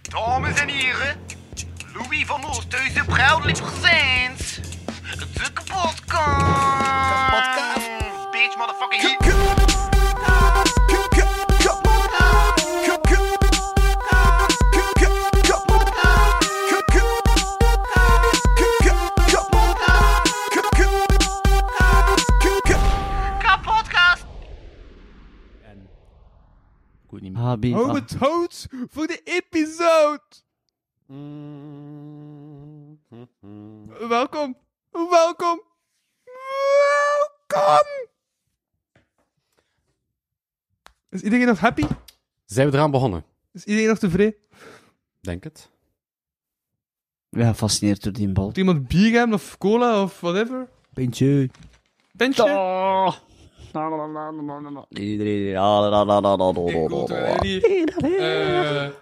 Dames en heren, Louis van Oosthuizen, proudly presents de kapotkast. Kapotkast. Bitch, motherfucking hit. Kapotkast. HB. Hou het hout voor de episode. Welkom. Welkom. Welkom. Is iedereen nog happy? Zijn we eraan begonnen? Is iedereen nog tevreden? Denk het. Ja, gefascineerd door die bal. Moet iemand bier hebben of cola of whatever? Pintje. Tentje? Ik wil toch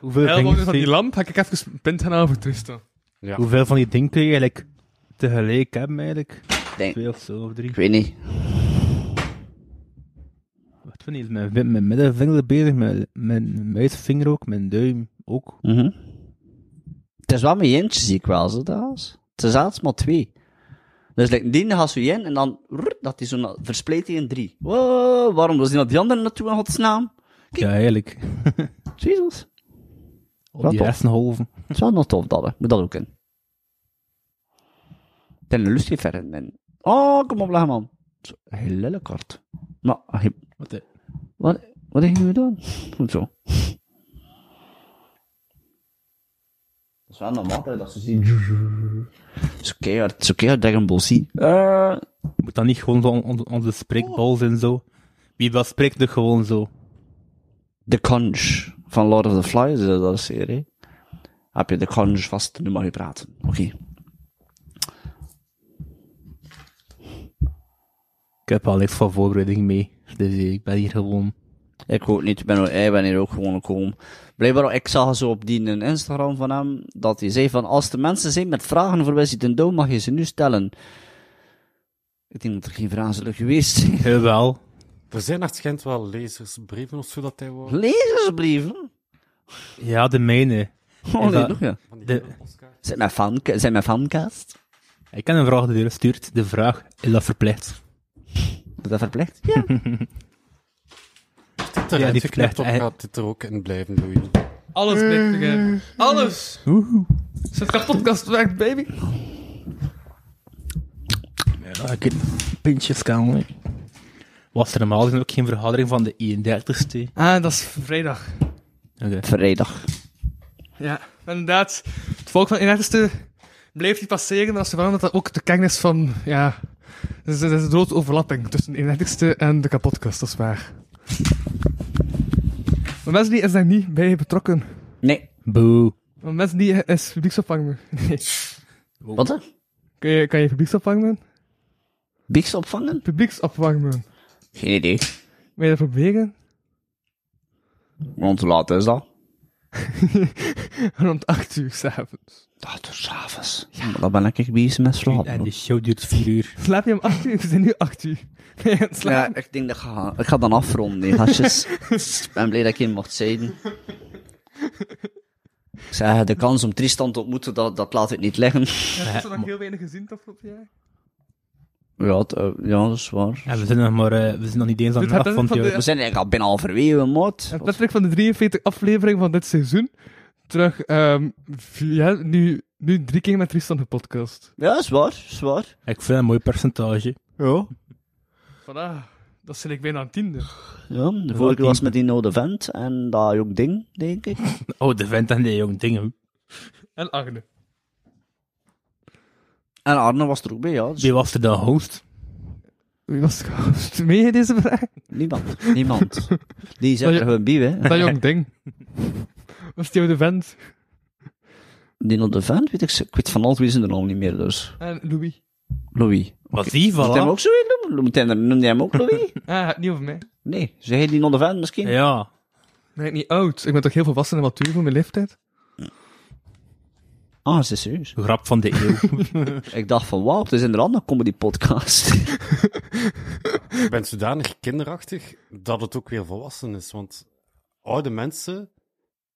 Hoeveel jullie, eh, elbow van die dingen lamp. Ga ik even een pint gaan halen voor Tristan. Hoeveel van die dingen kun je eigenlijk tegelijk hebben, eigenlijk? Denk- Twee of zo, of drie. Ik weet niet. Wat vind je? Is Mijn, wim- mijn middenvinger bezig, mijn, mijn wijsvinger ook, mijn duim ook. Mhm. Het is wel met jentje, zie ik wel, zo dat is. Het is zelfs maar twee. Dus like, die gaat zo in en dan rrr, dat die zo na- verspleit hij in drie. Wow, waarom was die naar die andere naartoe in godsnaam? Ja, eigenlijk. Jezus. Op Wat Oh, die toch? hersenhalven. Het is wel nog tof, dat hè. Moet dat ook in. Het is een lucifer in mijn... Oh, kom op, leg man. Heel lelijk kort. Maar, hij- Wat de- wat, wat gingen we doen? Goed zo. Dat is wel normaal hè, dat ze zien. Het is keihard, het is keihard Dragon Ball Z. Eh, Moet dat niet gewoon zo on- on- onze spreekbal en zo? Wie wat spreekt er gewoon zo? de Conch van Lord of the Flies, dat is dat een serie. Heb je de Conch vast, nu mag je praten. Oké. Ik heb al niks van voorbereiding mee. Dus eh, ik ben hier gewoon... Ik ook niet, ik ben, ik ben hier ook gewoon gekomen. Blijkbaar, ik zag zo op die een Instagram van hem, dat hij zei van, als er mensen zijn met vragen voor Wesley ten Doom, mag je ze nu stellen. Ik denk dat er geen vragen zullen geweest zijn. Jawel. Er zijn waarschijnlijk wel lezersbrieven of zo dat hij wordt. Lezersbrieven? Ja, de mijne. Oh, Is nee, dat- nog ja. De... Zijn mijn, fan, zijn mijn fancast? Ik heb een vraag die er stuurt. De vraag, is dat verplicht? Is dat verplicht? Ja. Dit eruit Ja, die geknipt, of krijgt- gaat dit er ook in blijven, Louis? Alles blijft te geven. Alles. Zet kapotkast weg, baby. Ja, Ah, ik heb pintjes kan. Was er normaal gezien ook geen vergadering van de 31ste? Ah, dat is vrijdag. Oké. Vrijdag. Ja, inderdaad. Het volk van Inertste bleef die passeren, maar als je verandert dat ook de kern is van, ja... Er is, er is een grote overlapping tussen de Inertste en de kapotkast, dat is waar. Maar mensen die is daar niet bij betrokken. Nee. Boe. Maar mensen die is publieksopvang. Nee. Wat dan? Kan je, kan je publieksopvang doen? Bieks opvangen? Publieksopvang doen. Geen idee. Wil je dat proberen? Want hoe laat is dat? Rond 8 uur s'avonds. Dat is s'avonds. Ja. Maar dan ben ik bezig met slapen. En die show duurt vier uur. Slaap je om 8 uur? We zijn nu 8 uur. Ben je aan het slapen? Ja, ik denk dat ik ga, ik ga dan afronden, die gastjes. ik ben blij dat ik in mocht zijn. Ik zeg, de kans om Tristan te ontmoeten, dat, dat laat ik niet liggen. Heb je nog heel weinig gezien het afgelopen jaar? Ja, het, eh, ja, dat is waar. En we zijn nog maar, eh, we zijn nog niet eens aan Dit het gaat helft van het van de- jaar. We zijn eigenlijk al bijna halverwege, maat. Het netwerk van de 43 aflevering van dit seizoen. Terug, ehm, via, nu, nu drie keer met Tristan gepodcast. Ja, is waar, is waar. Ik vind dat een mooi percentage. Ja. Voilà, dat zit ik bijna aan tiende. Ja, de vorige keer was het met die oude vent en dat jong ding, denk ik. Oh, de vent en die jong dingen. En Agne. En Arne was er ook bij, ja. Dus Wie was er dan host? Wie was het mee in deze vraag? Niemand, niemand. Die zegt Dat er je- gewoon bij, hè. Dat jong ding. Was die oude vent. Die oude vent, weet ik, ik weet van alles wie ze er al niet meer, dus. En Louis. Louis. Was die, Moet hij hem voilà. ook zo in noemen? Moet hij hem- Noemde hij hem ook Louis? Ah, niet over mij. Nee, zeg je die non misschien? Ja. Ben ik niet oud? Ik ben toch heel volwassen en matuur voor mijn leeftijd? Ah, ze is serieus. Grap van de eeuw. Ik dacht van, wauw, het is inderdaad een comedy podcast. Ik ben zodanig kinderachtig dat het ook weer volwassen is. Want oude mensen,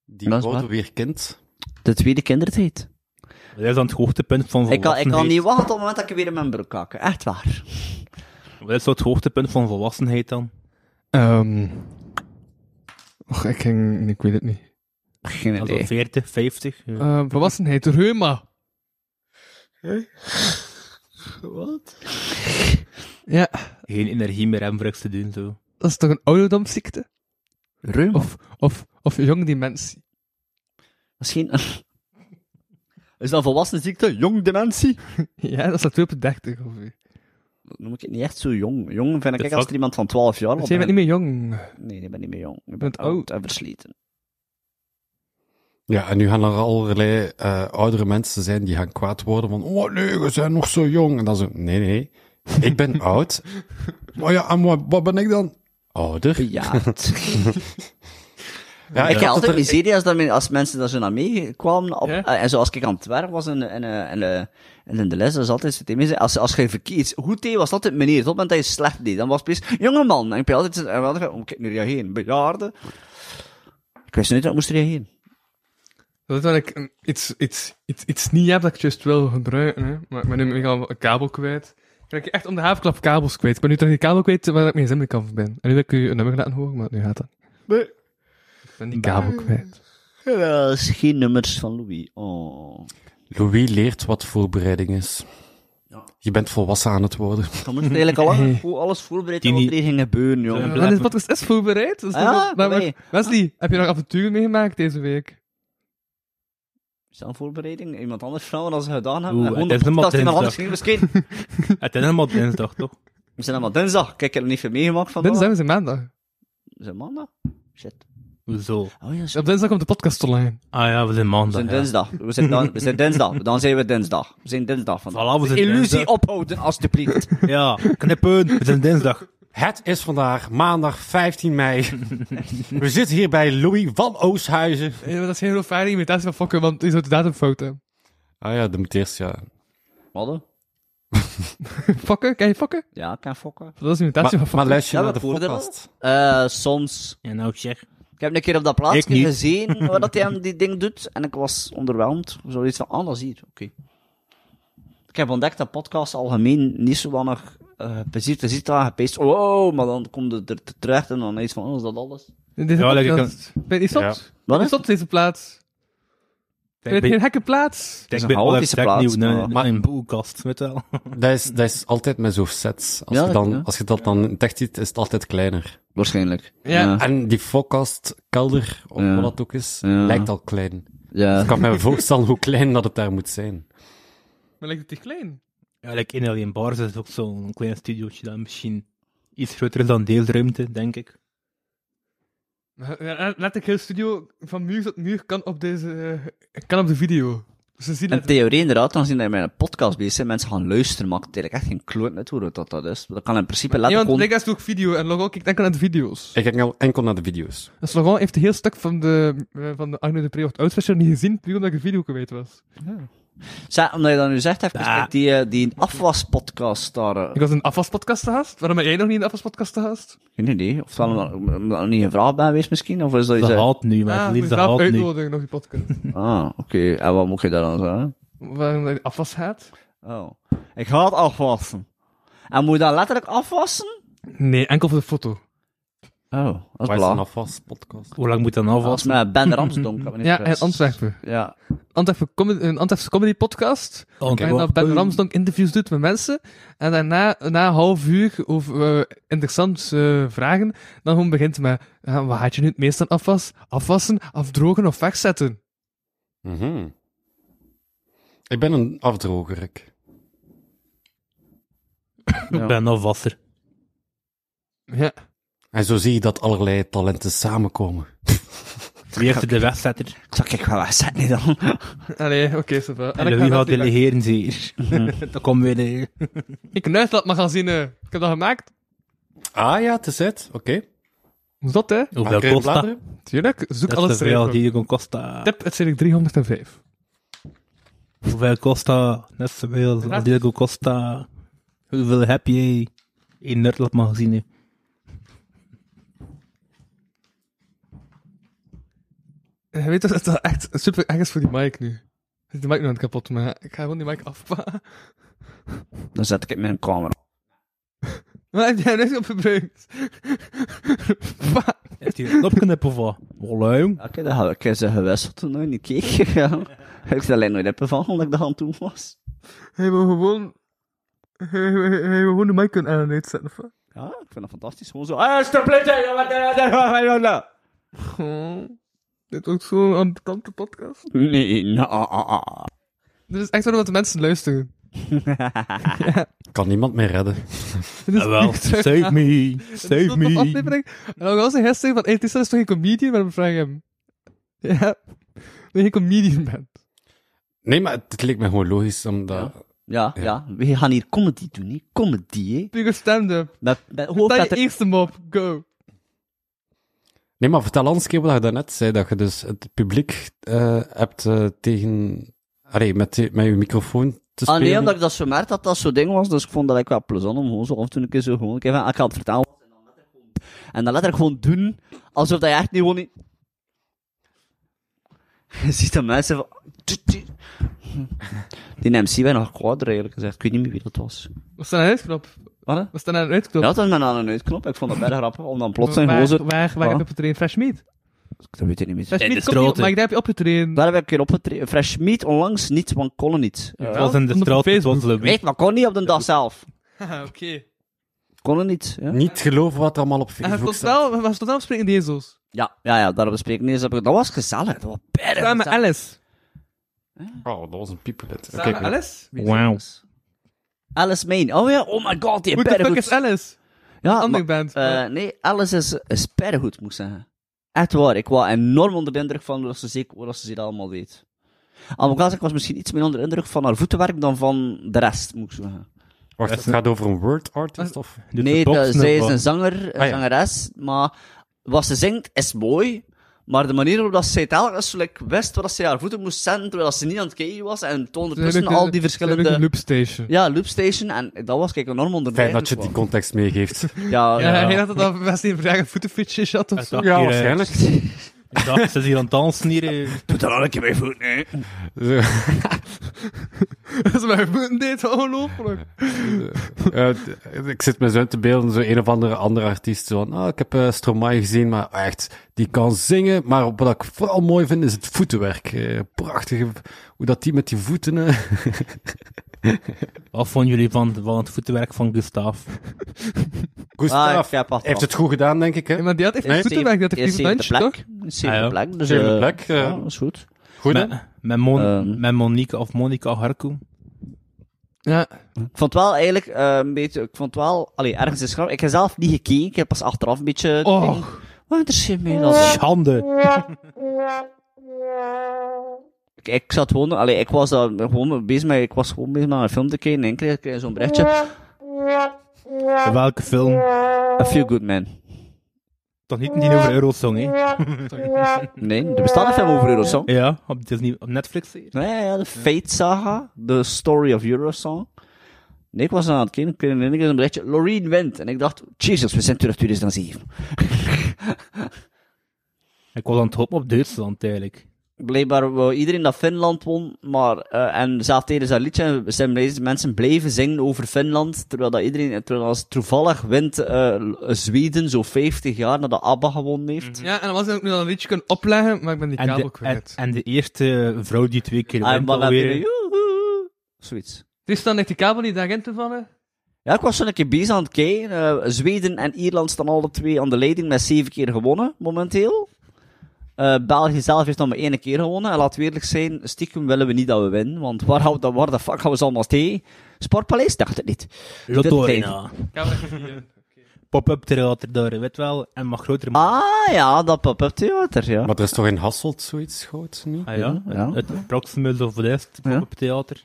die Dat is worden waar. weer kind. De tweede kindertijd. Dat is dan het hoogtepunt van Ik kan, volwassenheid. ik kan niet wachten op het moment dat ik weer in mijn broek kak. Echt waar. Wat is zo het hoogtepunt van volwassenheid dan? Ehm och, ik ging... Ik weet het niet. Geen Also idee. 40, 50? ja. Eh volwassenheid, reuma. Wat? Ja, Geen energie meer hebben voor iets te doen, zo. dat is toch een ouderdomsziekte? Reuma. Of, of, of jong dementie? Misschien... Is dat volwassen ziekte? Jong dementie? Ja, dat staat weer op de 30 ongeveer. Dat noem ik het niet echt zo jong. Jong vind ik De echt als fuck? er iemand van 12 Oh, jaar Dus op jij bent bent. niet meer jong. Nee, ik ben niet meer jong. Ik ben bent oud oud. en versleten. Ja, en nu gaan er allerlei eh, oudere mensen zijn die gaan kwaad worden van, oh nee, we zijn nog zo jong. En dan zo, nee, nee, ik ben oud. Maar ja, en wat, wat ben ik dan? Ouder. Bejaard. Ja, ik heb had dat altijd er- miserie als, dat men- als mensen daar zo naar meekwamen. Op, Ja? eh, En zoals ik aan het werk was in, in, eh, in, eh, in, de les, dat is altijd het ding. Als, als je verkeerd goed deed, was dat het meneer. Tot het moment dat je slecht deed, dan was het opeens jongeman. En ik ben altijd, en we hadden, oh, kijk, nu reageren. Bejaarde. Ik wist niet dat ik moest reageren. Dat is wel ik een- iets, iets, iets, iets niet heb dat ik juist wil gebruiken. Hè. Maar ik ben nu mega een kabel kwijt. Ik ben echt om de havenklap kabels kwijt. Ik ben nu toch die kabel kwijt waar ik mijn zin mee kan van ben. En nu wil ik u een nummer laten horen, maar nu gaat dat niet. Nee. Ik ben die kabel kwijt. Ja, dat is geen nummers van Louis. Oh. Louis leert wat voorbereiding is. Je bent volwassen aan het worden. Dan moest je eigenlijk al lang voor alles voorbereid hebben wat er hier ging gebeuren, jongen. En dit podcast is voorbereid. Dus Ah, dat- maar- maar- nee. Wesley, heb je nog avonturen meegemaakt deze week? Zelfvoorbereiding? Iemand anders vragen als ze gedaan hebben? Oeh, En gewoon het de is helemaal podcast iemand anders dinsdag. ging misschien. Het is helemaal dinsdag, toch? We zijn allemaal dinsdag. Kijk, ik heb er niet veel meegemaakt vandaag. Dinsdag is een maandag. Is het maandag? Shit. Hoezo? Oh ja, zo. Op dinsdag komt de podcast online. Ah ja, we zijn We maandag. zijn ja. dinsdag. We zijn, dan, we zijn dinsdag. Dan zijn we dinsdag. We zijn dinsdag vandaag. Voilà, we zijn Illusie dinsdag. ophouden, alstublieft. Ja, knippen. Het is dinsdag. Het is vandaag maandag 15 mei. We zitten hier bij Louis van Oosthuizen. Ja, maar dat is geen heel fijne imitatie van fokken, want die zou de datum fout hebben. Ah ja, de meteers, ja. Wat? hè? Fokken? Kan je fokken? Ja, ik kan fokken. Dat is een imitatie Maar, van maar fokken. luister Ja, je naar de dat hoorde dat. podcast? Eh, soms. Ja, nou zeg. Ik heb een keer op dat Ik plaatsje niet. gezien waar dat hij hem die ding doet. En ik was onderweldigd. Zoiets van, ah, dat is hier. Oké. Ik heb ontdekt dat podcasts algemeen niet zo weinig eh, plezier te zitten aangepast. Wow, oh, maar dan komt het er te- terecht en dan iets van, oh, is dat alles? Deze Ja, lekker podcast. Ben je Ja. stopt? Wat Je is dat? stopt deze plaats. Ik Weet je, ben een gekke plaats. is ik een ben al chaotische tech nieuw. plaats, nee, maar- Maar een boelkast, weet je wel. Dat is, dat is altijd met zo'n sets. Als, Ja, je dat- dan, ja. als je dat dan in tech ziet, is het altijd kleiner. Waarschijnlijk. Ja. En die forecast kelder, of Ja. wat dat ook is, Ja. lijkt al klein. Dus ja. Ik kan me voorstellen hoe klein dat het daar moet zijn. Maar lijkt het te klein? Ja, like in Alien Bars is ook zo'n klein studiootje dat misschien iets groter is dan deelruimte, denk ik. Ja, Laat ik heel studio van muur tot muur kan op deze... eh, kan op de video. Dus ze zien In het. theorie inderdaad, dan zien dat je met een podcast bezig bent, mensen gaan luisteren, maakt het eigenlijk echt geen kloot uit hoe dat dat dat is. Dat kan in principe laten Iemand gewoon... kijkt als ook video en Laurent kijkt enkel naar de video's. Ik kijk al enkel naar de video's. Dus Laurent heeft een heel stuk van de, eh, van de Arno de Preocht Outfashion niet gezien, puur omdat ik de video kwijt was. Zeg, omdat je dat nu zegt, even Ja. kijk, die, eh, die afwaspodcast daar... eh, Ik was in een afwaspodcast te gast. Waarom ben jij nog niet in een afwaspodcast te gast? Geen idee. Of dan omdat ik niet gevraagd ben geweest misschien, of is dat Ze iets... uit- haalt nu, maar Ah, het moet je liefst ze zelf haalt nu. uitnodigen nog die podcast. Ah, oké. En wat moet je daar dan zeggen? Waarom dat je afwas gaat? Oh. Ik ga het afwassen. En moet je dat letterlijk afwassen? Nee, enkel voor de foto. Oh, dat is Waar is een belangrijk. afwas podcast? Hoe lang moet dat nou Als afwassen? met Ben Ramsdonk. heb ik niet Ja, vergist. en Antwerpen. Ja. Antwerpen comedy, een Antwerpse comedy podcast. Oh, Waarin dat Ben Ramsdonk interviews doet met mensen. En daarna, na een half uur, over eh, interessante eh, vragen, dan gewoon begint met, ja, wat had je nu het meest aan afwas? Afwassen, afdrogen of wegzetten? Mhm. Ik ben een afdroger, ik. Ik ben nou afwasser. Ja. En zo zie je dat allerlei talenten samenkomen. Wie heeft er de wegzetter? Ik zeg, kijk, wat was dat niet dan? Allee, oké, okay, wel. En wie gaat delegeren, zeer? Dat komt weer de... Ik nuis dat magazine. eh. Ik heb dat gemaakt. Ah ja, het is het. Oké. Hoe is dat, hè? Hoeveel Kun je kost dat? bladeren? Tuurlijk, zoek Dat is alles te veel erin. die je kon kosten. Tip, het zit ik 305. Hoeveel kost dat? Net zoveel als Diego Costa. Hoeveel heb jij in Nerdlab magazine? Je weet dat het echt super erg is voor die mic nu. Ik die mic nu aan het kapot, maar ik ga gewoon die mic afpakken. Dan zet ik het in mijn kamer. Wat heb jij net op gebruikt? Fuck. Heeft hij een knopknippen voor? Voilà, jong. Ja, ik heb dat- ik heb ze eh, gewisseld toen ik niet keek. Ja. Ik heb er alleen nooit hebben van, omdat ik de hand toen was. Hij wil gewoon... Hij hij- hij wil gewoon de mic kunnen aan en uitzetten, of wat? Ja, ik vind dat fantastisch. Gewoon zo. Ah, stop Oh, dit ook zo'n ambitante podcast. Nee, nou, ah, ah, ah. Dit is echt wel wat de mensen luisteren. Kan niemand meer redden. Dit is Jawel, echt terug- Ah, save me, save Tot op me. aflevering. En dan was hij gisteren van, hey, Tessa is toch geen comedian? Maar we vragen hem. Ja, dat je geen comedian bent. Nee, maar het, het leek me gewoon logisch, omdat... Ja, ja, We gaan hier comedy doen, hè. Comedy, hè. Puur stand-up. Met, met Dat je hoofdletter... eerste mop, go. Nee, maar vertel anders een keer wat je daarnet zei, dat je dus het publiek eh, hebt eh, tegen... Allee, met, die- met je microfoon te Ah spelen. nee, omdat ik dat zo merkte dat dat zo'n ding was, dus ik vond dat ik wel plezant om gewoon zo af en toe een keer zo gewoon... Ik, van, ik ga het vertellen. En dan letterlijk gewoon doen, alsof dat je echt niet gewoon niet... Je ziet dat mensen van... Die MC werd nog kwader eigenlijk gezegd, ik weet niet meer wie dat was. We staan aan een uitknop. Wat hè? We staan aan een uitknop. Ja, dat is mijn aan een uitknop. Ik vond dat bijna grappig om dan plots een waar, gewoon zo... waar, waar Ja. heb je opgetreden? Fresh Meat. Dat weet ik niet meer. Fresh In Meat de komt niet op, straten. maar ik daar heb je opgetreden. Daar heb ik een keer opgetreden. Fresh Meat onlangs niet, want kon niet. Eh, Het was in de Stond op straat, het was de Weet, maar kon niet op de dag zelf. Haha, Ah, oké. Ah, Kon niet, ja. Niet geloven wat er allemaal op En hij Facebook stond staat. wel, we stonden wel springen in ezels. Ja, ja, ja, daar bespreek ik niet eens. Heb ik, dat was gezellig. Dat was bijna Samen met gezellig. Alice. Oh, dat was een piepelet. Samen Oké, met Alice? Wie is dat? Wauw. Alice Main. Oh ja, oh my god, die Hoe heeft de bijna fuck goed. is Alice? Ja, Andere Ah, maar- band. eh, nee, Alice is, is bijna goed, moet ik zeggen. Echt waar, ik was enorm onder de indruk van hoe dat ze zeker hoe dat ze dit allemaal deed. Aan elkaar ik was misschien iets meer onder de indruk van haar voetenwerk dan van de rest, moet ik zeggen. Wacht, het gaat over een word artist of... Eh, Nee, de- zij is een zanger, een Ah, ja. zangeres, maar wat ze zingt is mooi, maar de manier waarop dat zij telkens like, wist waar dat ze haar voeten moest zetten, terwijl dat ze niet aan het kijken was, en ondertussen al die Een verschillende... loopstation. Ja, Loopstation, en dat was kijk enorm onder de Fijn dat je indruk die van. context meegeeft. Ja, ja. Ja, ik denk dat dat best een vraag een voetenfitje had of zo. Ja, waarschijnlijk. Ik dacht, ze is hier aan het dansen hier. eh. Doe dat al een keer bij voet, nee. Zo, Dat is mijn voeten deed, ongelooflijk. eh, d- ik zit me zo in te beelden, zo een of andere, andere artiest. Zo van, ah, ik heb eh, Stromae gezien, maar echt, die kan zingen. Maar wat ik vooral mooi vind, is het voetenwerk. Eh, prachtige, hoe dat die met die voeten... eh, Wat vonden jullie van, van het voetenwerk van Gustav? Ah, Gustav ik heb heeft het goed gedaan, denk ik. Hè? Ja, maar die had echt Nee. een voetenwerk, dat heeft een handje, toch? Ah, ja. Zevende plek. Dus, Zevende eh, plek, eh. ja, dat is goed. Goed, hè? Met, met, Mon, Ehm. met Monique of Monica Harkoe? Ja. Ik vond het wel eigenlijk eh, een beetje... Ik vond het wel... Allee, ergens is grappig. Ik heb zelf niet gekeken. Ik heb pas achteraf een beetje... Oh. Wat interesseert mij dat? Schande. Ik, ik zat gewoon... Allee, ik was daar gewoon bezig met... Ik was gewoon bezig met een film te kijken. En kreeg ik zo'n berichtje. Welke film? A Feel Good Man. Toch niet die over Eurosong, hè? Nee, er bestaat een film over Eurosong. Ja, op, Disney, op Netflix hier. Nee, ja, de Fate Saga. The Story of Eurosong. Nee, ik was aan het kijken. Ik kreeg ineens een berichtje. Loreen wint. En ik dacht... Jesus, we zijn terug 2007. Ik was aan het hopen op Duitsland, eigenlijk. blijkbaar wou iedereen dat Finland won, maar, eh, en zelfs tijdens dat liedje zijn deze mensen blijven zingen over Finland, terwijl dat iedereen, terwijl als toevallig wint eh, L- Zweden zo 50 jaar nadat ABBA gewonnen heeft. ja, en dan was ik ook nog een liedje kunnen opleggen, maar ik ben die En kabel de, en, kwijt. en de eerste vrouw die twee keer I'm wint gonna be the- alweer. joehoe. Zoiets. Tristan heeft die kabel niet daarin te vallen. Ja, ik was zo'n keer bezig aan het kijken. Eh, Zweden en Ierland staan alle twee aan de leiding met zeven keer gewonnen, momenteel. Eh, België zelf heeft nog maar één keer gewonnen. En laten we eerlijk zijn, stiekem willen we niet dat we winnen. Want waar, hou- dat- waar de fuck gaan we ze allemaal tegen? Sportpaleis? Dacht het niet. Lotto Dit tijd. Arena. Pop-up theater daar, weet wel. En mag groter maken. Ah ja, dat pop-up theater, ja. Maar er is toch in Hasselt zoiets groot nu? Ah, ja. ja. Het Proximus of West, Ja. pop-up theater.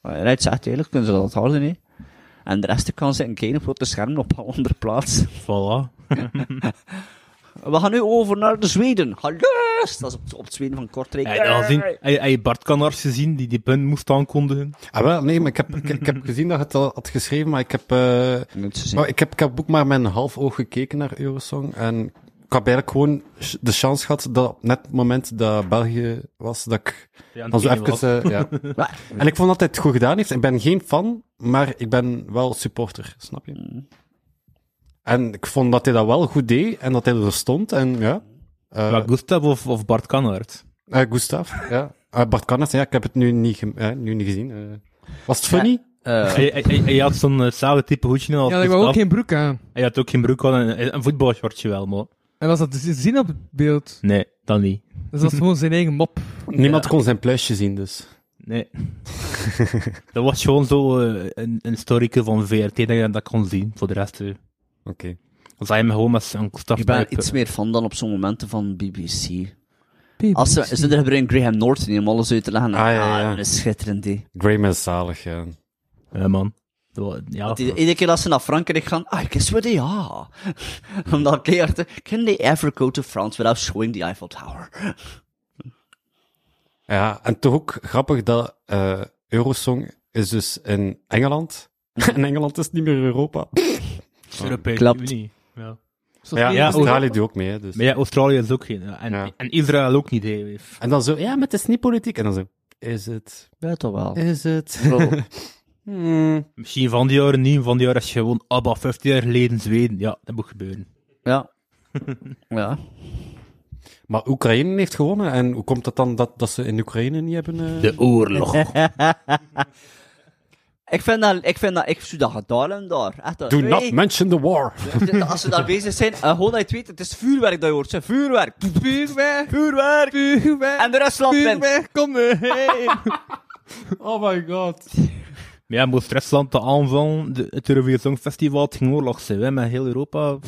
Maar Rijt Eh, zegt eigenlijk, kunnen ze dat houden, hè? En de rest kan zitten kijken op grote schermen op een andere plaats. Voilà. We gaan nu over naar de Zweden. Hallo! Dat is op, op het Zweden van Kortrijk. Heb je al gezien? Heb je- heb je Bart Kanars gezien, die die punt moest aankondigen? Ah, wel, nee, maar ik heb, ik, ik heb gezien dat je het al had geschreven, maar ik heb, eh, Niet te zien. maar ik heb, ik heb ook maar met een half oog gekeken naar Eurosong en heb eigenlijk gewoon sh- de chance gehad dat net het moment dat België was, dat ik Ja, dan zo even... eh, ja. En ik vond dat hij het goed gedaan heeft. Ik ben geen fan, maar ik ben wel supporter, snap je? En ik vond dat hij dat wel goed deed en dat hij er stond. En ja, eh, Gustav of, of Bart Kannaert? eh, Gustav, ja. Eh, Bart Karnas, ja, ik heb het nu niet, gem- eh, nu niet gezien. eh. was het funny? Eh, Hij, hij, hij- hij had zo'n eh, hetzelfde type hoedje aan als Ja, ik wou Gustav. ook geen broek aan. Hij had ook geen broek aan, een, een voetbalshortje wel, maar... En was dat te zien op het beeld? Nee, dan niet. Dus dat is gewoon zijn eigen mop. Niemand kon zijn pluisje zien, dus. Nee. dat was gewoon zo eh, een, een historieke van VRT dat je dat kon zien. Voor de rest, eh, Oké. dan zijn we gewoon met zo'n Gustav ik ben type. iets meer fan dan op zo'n momenten van BBC. Als ze, ze hebben een Graham Norton in om alles uit te leggen. Ah, ja, ja. dat is schitterend. die. Graham is zalig, ja. Ja, man. Dat wa- Ja, Die- Iedere keer als ze naar Frankrijk gaan, I guess what they are. Omdat keer, can they ever go to France without showing the Eiffel Tower? Ja, en toch ook grappig dat eh, Eurosong is dus in Engeland. en Engeland is niet meer Europa. Europese Klopt. Unie. Ja. Ja, Ja, Australië doet ook mee, hè, dus. Maar ja, Australië is ook geen... ja, En, Ja. en Israël ook niet, hè. En dan zo, ja, maar het is niet politiek. En dan zo, is het? Weet toch wel. Is het? Bro. Hmm. Misschien van die jaren niet, van die jaren is gewoon ABBA 50 jaar geleden Zweden. Ja, dat moet gebeuren. Ja. ja. Maar Oekraïne heeft gewonnen. En hoe komt het dan dat, dat ze in Oekraïne niet hebben... eh? De oorlog. Ik vind dat, ik vind dat, ik zou dat gedaan hebben daar. Echt, dat- Do Nee, not mention the war. als ze daar bezig zijn, eh, gewoon dat je het weet, het is vuurwerk dat je hoort. Zijn vuurwerk. Vuurwerk! Vuurwerk! Vuurwerk! En de Rusland wint. Vuurwerk, kom heen! oh my god. Maar ja, moest Rusland de aanval, de, het Eurovisie Songfestival, het ging oorlog zijn, hè, met heel Europa.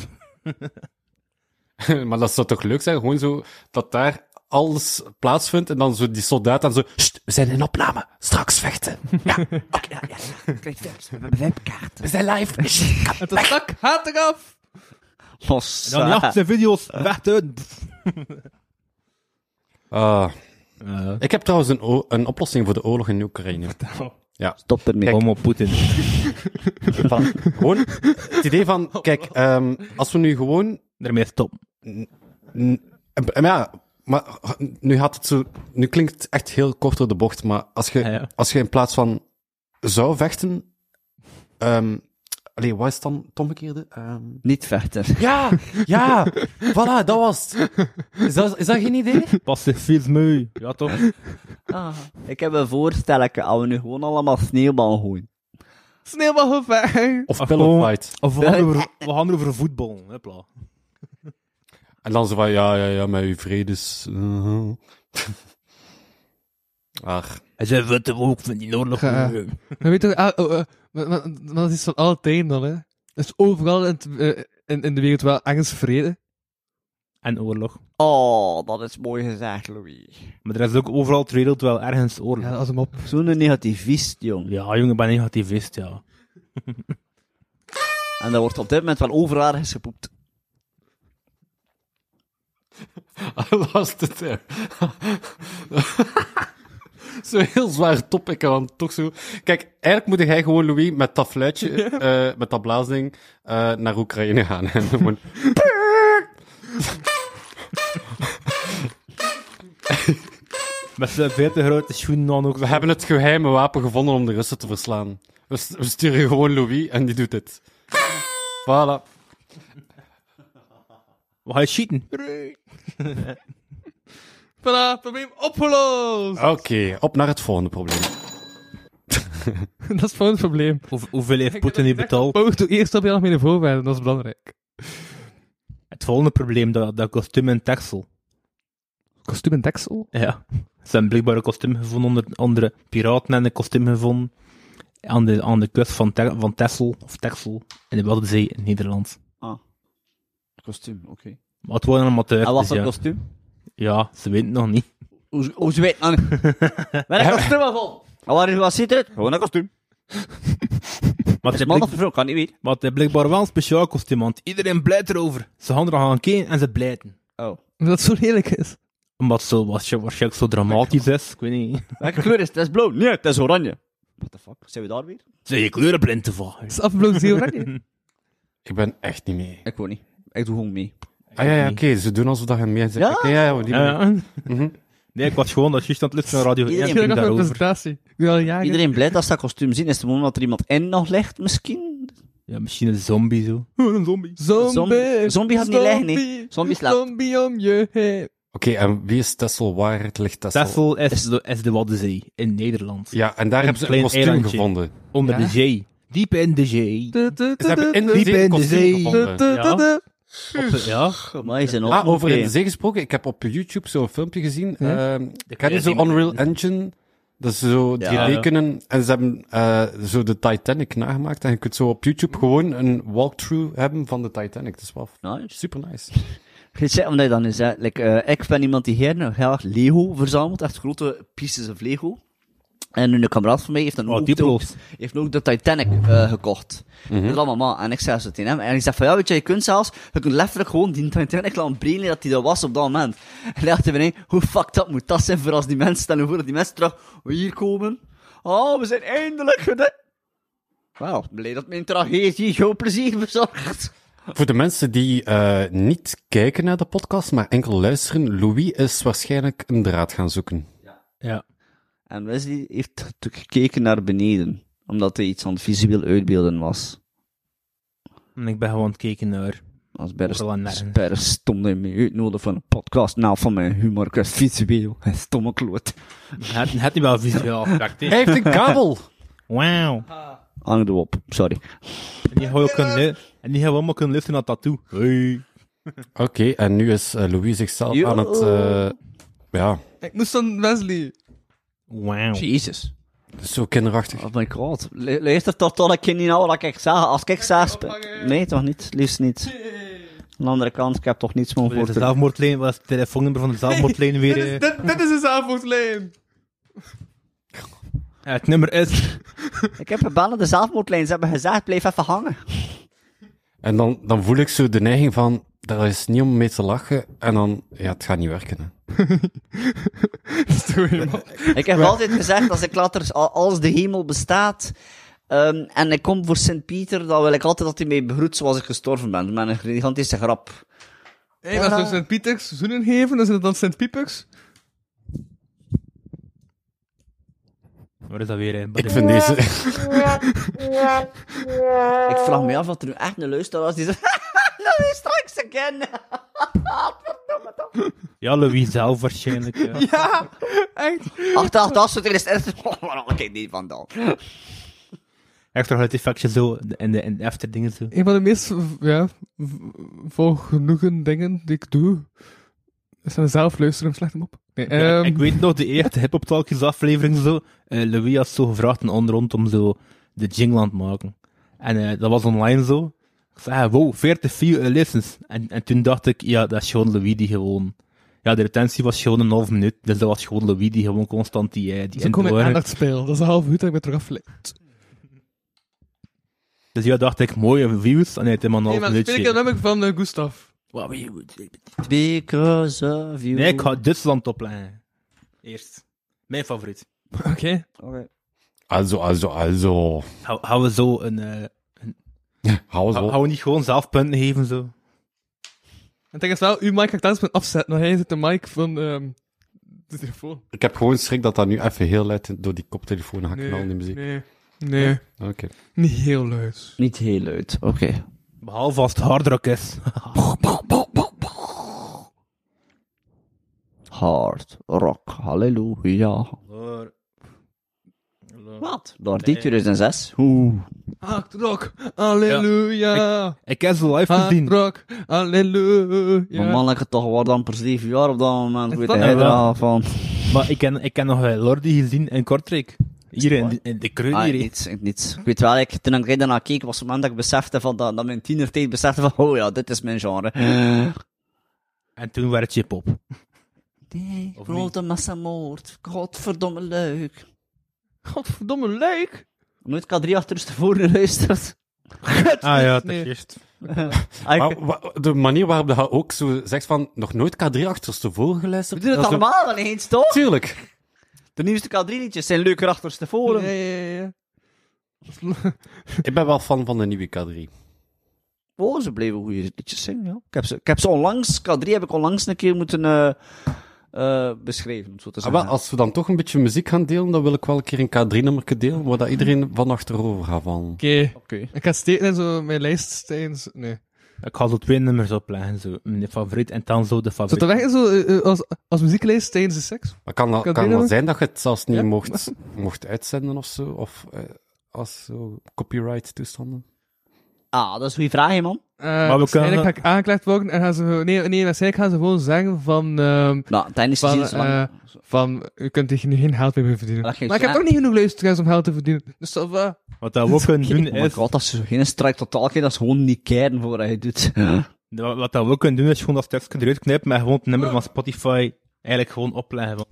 maar dat zou toch leuk zijn? Gewoon zo, dat daar alles plaatsvindt. En dan zo die soldaten zo, "Sst, we zijn in opname. Straks vechten. Ja, ja, ja. Kijk, tips. We hebben webkaart. We zijn live. Sst, Het stak haat eraf! Los. Dan ja, zijn video's, weg uit. Ah, Ja. ik heb trouwens een, o- een oplossing voor de oorlog in Oekraïne. Stop ermee. Kom op, Poetin. Van, gewoon het idee van, kijk, ehm, als we nu gewoon... Daarmee stop. n- en- en ja, maar nu, gaat het zo, nu klinkt het echt heel kort door de bocht, maar als je, Ja, ja. Als je in plaats van zou vechten... ehm allee, wat is het dan het omgekeerde? Ehm, Niet vechten. ja, ja, voilà, dat was het. Is dat, is dat geen idee? Pacifisme. Ja, toch? Ah, ik heb een voorstelletje. Als we nu gewoon allemaal sneeuwbal gooien. Sneeuwbalgevaar! Of gewoon- fight. Of we gaan over, we gaan over voetbal. Hopla. En dan zo van, ja, ja, ja, met uw vredes... eh. Ach, Hij zei, wat de ook van die oorlog. Ja. Eh, Maar weet je, ah, oh, eh, maar- maar- maar dat is van alle tijden dan, hè. Dat is overal in, het, eh, in, in de wereld wel ergens vrede. En oorlog. Oh, dat is mooi gezegd, Louis. Maar er is ook overal ter wereld wel ergens Ja, oorlog. dat is hem op. Zo'n negativist, jong. Ja, jongen, ik ben negativist, ja. En dat wordt op dit moment wel overal ergens gepoept. I lost it there. Zo'n heel zwaar topic, en dan toch zo... Kijk, eigenlijk moet jij gewoon, Louis, met dat fluitje, eh, met dat blaasding, eh, naar Oekraïne gaan. En gewoon... Met zijn veel te grote schoenen dan ook. We hebben het geheime wapen gevonden om de Russen te verslaan. We, st- we sturen gewoon Louis en die doet het. Voilà. We gaan schieten. Voilà, probleem opgelost! Oké, op naar het volgende probleem. Dat is gewoon het probleem. Hoe- hoeveel heeft Poetin nu betaald? Maar doe eerst op je nog meer voorwaarden, dat is belangrijk. Het volgende probleem, dat, dat kostuum in Texel. Kostuum en deksel? Ja. Ze hebben blijkbaar een kostuum gevonden onder andere piraten en een kostuum gevonden aan de, aan de kust van, Te- van Texel, of Texel, in de Waddenzee in Nederland. Kostuum, oké. Maar het waren amateurs, En wat dus voor ja. kostuum? ja, ze weten het nog niet. Hoe hoe ze weet man. Met een kostuum al vol. En waar wat ziet het? Gewoon een kostuum. Maar Het het, is is man blik- of vrouw, kan niet weten. maar het is blijkbaar wel een speciaal kostuum, want iedereen blijft erover. Ze gaan er gaan kijken en ze blijten. Oh. Omdat het zo lelijk is. Omdat het zo, waarsch- waarschijnlijk zo Oh dramatisch is, ik weet niet. Welke kleur is het? Het is blauw. Nee, het is oranje. What the fuck? Zijn we daar weer? Zijn je kleuren blind te vallen? Het is afgeblozen oranje. Ik ben echt niet mee. Ik wil niet. Ik doe gewoon mee. Ah ja, ja oké, ze doen alsof dat je meer zegt. Ja? Oké, ja, ja, die manier. Ja. Eh, Nee, ik was gewoon dat juist aan het luisteren naar radio 1 Iedereen ging Ik heb een daarover. presentatie. Ik wil al jagen. Iedereen blij dat ze dat kostuum zien. Is het moment dat er iemand in nog ligt, misschien? Ja, misschien een zombie zo. een zombie. Zombie. Zombie- zombie gaat niet liggen, nee. zombie, Zombie slaapt. Zombie om je heen. Oké, en wie is Tessel? Waar ligt Tessel? Tessel is de, is de Waddenzee in Nederland. Ja, en daar hebben ze een klein kostuum eilandje. gevonden. Onder Ja? de zee. Diep in de zee. Du- du- Ze du- hebben du- in de Diep zee in een de kostuum zee. du- gevonden. du- du- Ja. du- Op de- ja. Maar is een Ah, over in de opmerking. zee gesproken. Ik heb op YouTube zo'n filmpje gezien. Hm? Ja? Ehm, ken je zo Unreal Engine? Dat is zo Ja. 3D kunnen. En ze hebben eh, zo de Titanic nagemaakt. En je kunt zo op YouTube gewoon een walkthrough hebben van de Titanic. Dat is wel Nice. super nice. Ik zeg omdat je dan is, hè. Like, eh, ik ben iemand die heel graag Lego verzamelt, echt grote pieces of Lego. En een kameraad van mij heeft dan Oh, ook, Diplo's. ook, heeft ook de Titanic eh, gekocht. Dat is allemaal maar. En ik zei zo tegen hem. En ik zeg van, ja, weet je, je kunt zelfs, je kunt letterlijk gewoon die Titanic laten brainen dat die dat was op dat moment. En hij dacht hij van, hey, hoe fucked up moet dat zijn voor als die mensen, stel je voor dat die mensen terug hier komen. Oh, we zijn eindelijk gedaan. Wauw, blij dat mijn tragedie jouw plezier bezorgt. Voor de mensen die eh, niet kijken naar de podcast, maar enkel luisteren, Louis is waarschijnlijk een draad gaan zoeken. Ja. En Wesley heeft natuurlijk gekeken naar beneden, omdat hij iets aan het visueel uitbeelden was. En ik ben gewoon aan het kijken naar... Dat is bijna, Overal st- nergens. is bijna stom dat je me uitnodigt van een podcast. Nou, van mijn humor, ik was visueel. Stomme kloot. Het, het niet wel visueel aspect, hè. Hij heeft een kabel! Wauw. Hang erop, sorry. En die gaan we ook kunnen, lu- en die gaan we allemaal kunnen luisteren naar tattoo. Hey. Oké, en nu is eh, Louis zichzelf Yo. aan het... eh, ja, Ik moest dan Wesley. Wauw. Jezus. dat is zo kinderachtig. Oh my god. Lu- Luister tot tot ik je niet nou wat ik zag. Als ik zag... spe- Nee, toch niet? Liefst niet. Aan de andere kant, ik heb toch niets meer voor De te... zelfmoordlijn, wat is het telefoonnummer van de zelfmoordlijn weer? Dit eh? is, dit, dit is een zaadvoetlijn. Ja, het nummer is... Ik heb gebeld de zelfmoordlijn. Ze hebben gezegd, blijf even hangen. En dan, dan voel ik zo de neiging van, daar is niet om mee te lachen. En dan, ja, het gaat niet werken. Hè. Ik heb altijd gezegd, als ik later, a- als de hemel bestaat, ehm, en ik kom voor Sint-Pieter, dan wil ik altijd dat hij mij begroet zoals ik gestorven ben. Met een gigantische grap. Hey, maar als we Sint-Pieters zoenen geven, dan zijn het dan Sint-Piepers. Wat is dat weer? hè? Ik vind deze... Ik vraag me af wat er nu echt een luisteraar was die zegt, dat is straks again. Ja, Louis zelf waarschijnlijk. Ja. Ja, echt. Achter, achter, als het er is, is oh, waar haal ik het niet vandaan? Extra geluid effectje zo, en de, en de after dingen zo. Een van de meest v- ja, v- volgenoegen dingen die ik doe, is aan zelf luisteren en slecht hem op. Nee, Ja, ehm, ik weet nog, de eerste Hip Hop Talkies aflevering zo, eh, Louis had zo gevraagd een ander rond om zo de jingle aan te maken. En eh, dat was online zo. Ik zei, ah, wow, 40 view, eh, listens. En, en toen dacht ik, ja, dat is gewoon Louis die gewoon... Ja, de retentie was gewoon een half minuut, dus dat was gewoon Louis die gewoon constant die... eh, die Zo dus kom ik indoor- aandachtsspel. Dat is een half uur dat ik me terug afleid. Dus ja, dacht ik, mooie views. Ah, En hij heeft helemaal een Nee, half maar ik minuutje. heb ik van eh, Gustav. Because of you. Nee, ik ga Duitsland opleggen. Eerst. Mijn favoriet. Oké. Oké. Also, also, also. Hou- Houden we zo een... eh, Hou eens hou- Ah, op. houden we niet gewoon zelf punten geven, zo? En denk is wel, uw mic ga ik telkens met afzetten, want hij zit de mic van ehm de telefoon. Ik heb gewoon schrik dat dat nu even heel luid door die koptelefoon gaat knallen in de muziek. nee, nee. Oké. Niet heel luid. Niet heel luid, oké. Behalve als het hardrock is. Hard rock, halleluja. Wat? Door dit 2006? Oeh. Hard rock, halleluja. Ik heb ze live Hard gezien. rock, halleluja. Maar mannelijke toch, wordt dan per zeven jaar op dat moment. Is Weet dat hij nou er wel? al van? Maar ik ken, ik ken nog eh, Lordi gezien in Kortrijk. Hier in, de- in de kreun Ah, hier. ik hè. niets, ik niets. Ik weet wel, ik, toen ik daarna keek, was het moment dat ik besefte van, dat, dat mijn tienertijd besefte van, oh ja, dit is mijn genre. En toen werd het chip-op. Nee, Of grote massamoord. Godverdomme leuk. Godverdomme leuk. Nooit K3 achter tevoren geluisterd. Ah ja, Nee. dat is Ah, ik- Maar wa- de manier waarop dat je ook zo zegt van nog nooit K3 achterstevoren we geluisterd. doen het dat is allemaal wel eens, toch? Zo... Tuurlijk. De nieuwste K3-liedjes zijn leuker achter Ja, tevoren. ja, ja, ja. Ik ben wel fan van de nieuwe K3. Oh, ze bleven goede liedjes zingen, ja. Ik heb ze, ik heb ze onlangs, K3 heb ik onlangs een keer moeten eh, eh, beschrijven, om het zo te Ah, zeggen. wel, als we dan toch een beetje muziek gaan delen, dan wil ik wel een keer een K3-nummer delen, waar dat iedereen van achterover gaat vallen. Oké. Ik ga steken in zo mijn lijst tijdens... Nee. Ik ga zo twee nummers opleggen, zo. Mijn favoriet en dan zo de favoriet. Zou dat werken zo eh, eh, als, als muzieklijst tijdens de seks? Maar kan dat, K3 kan dat nummer? zijn dat je het zelfs niet Ja. mocht, mocht uitzenden of zo? Of eh, als zo copyright-toestanden? Ah, dat is een goede vraag, hè, man. Eh we waarschijnlijk kunnen- ga ik aangeklaagd worden en gaan ze... gewoon- Nee, nee, waarschijnlijk gaan ze gewoon zeggen van... ehm, Nou, tijdens de Van, zin is lang. eh, van, u kunt tegen nu geen geld meer verdienen. Dat geeft Maar ik heb ze- toch niet genoeg luisteraars om geld te verdienen. Dus dat va. Wat dat we ook kunnen doen Oh my is... god, dat is geen strijk totaal, dat is gewoon niet kijken voor wat je doet. Wat wat dat we ook kunnen doen is gewoon dat tekstje eruit knippen, maar gewoon het nummer van Spotify eigenlijk gewoon opleggen. Want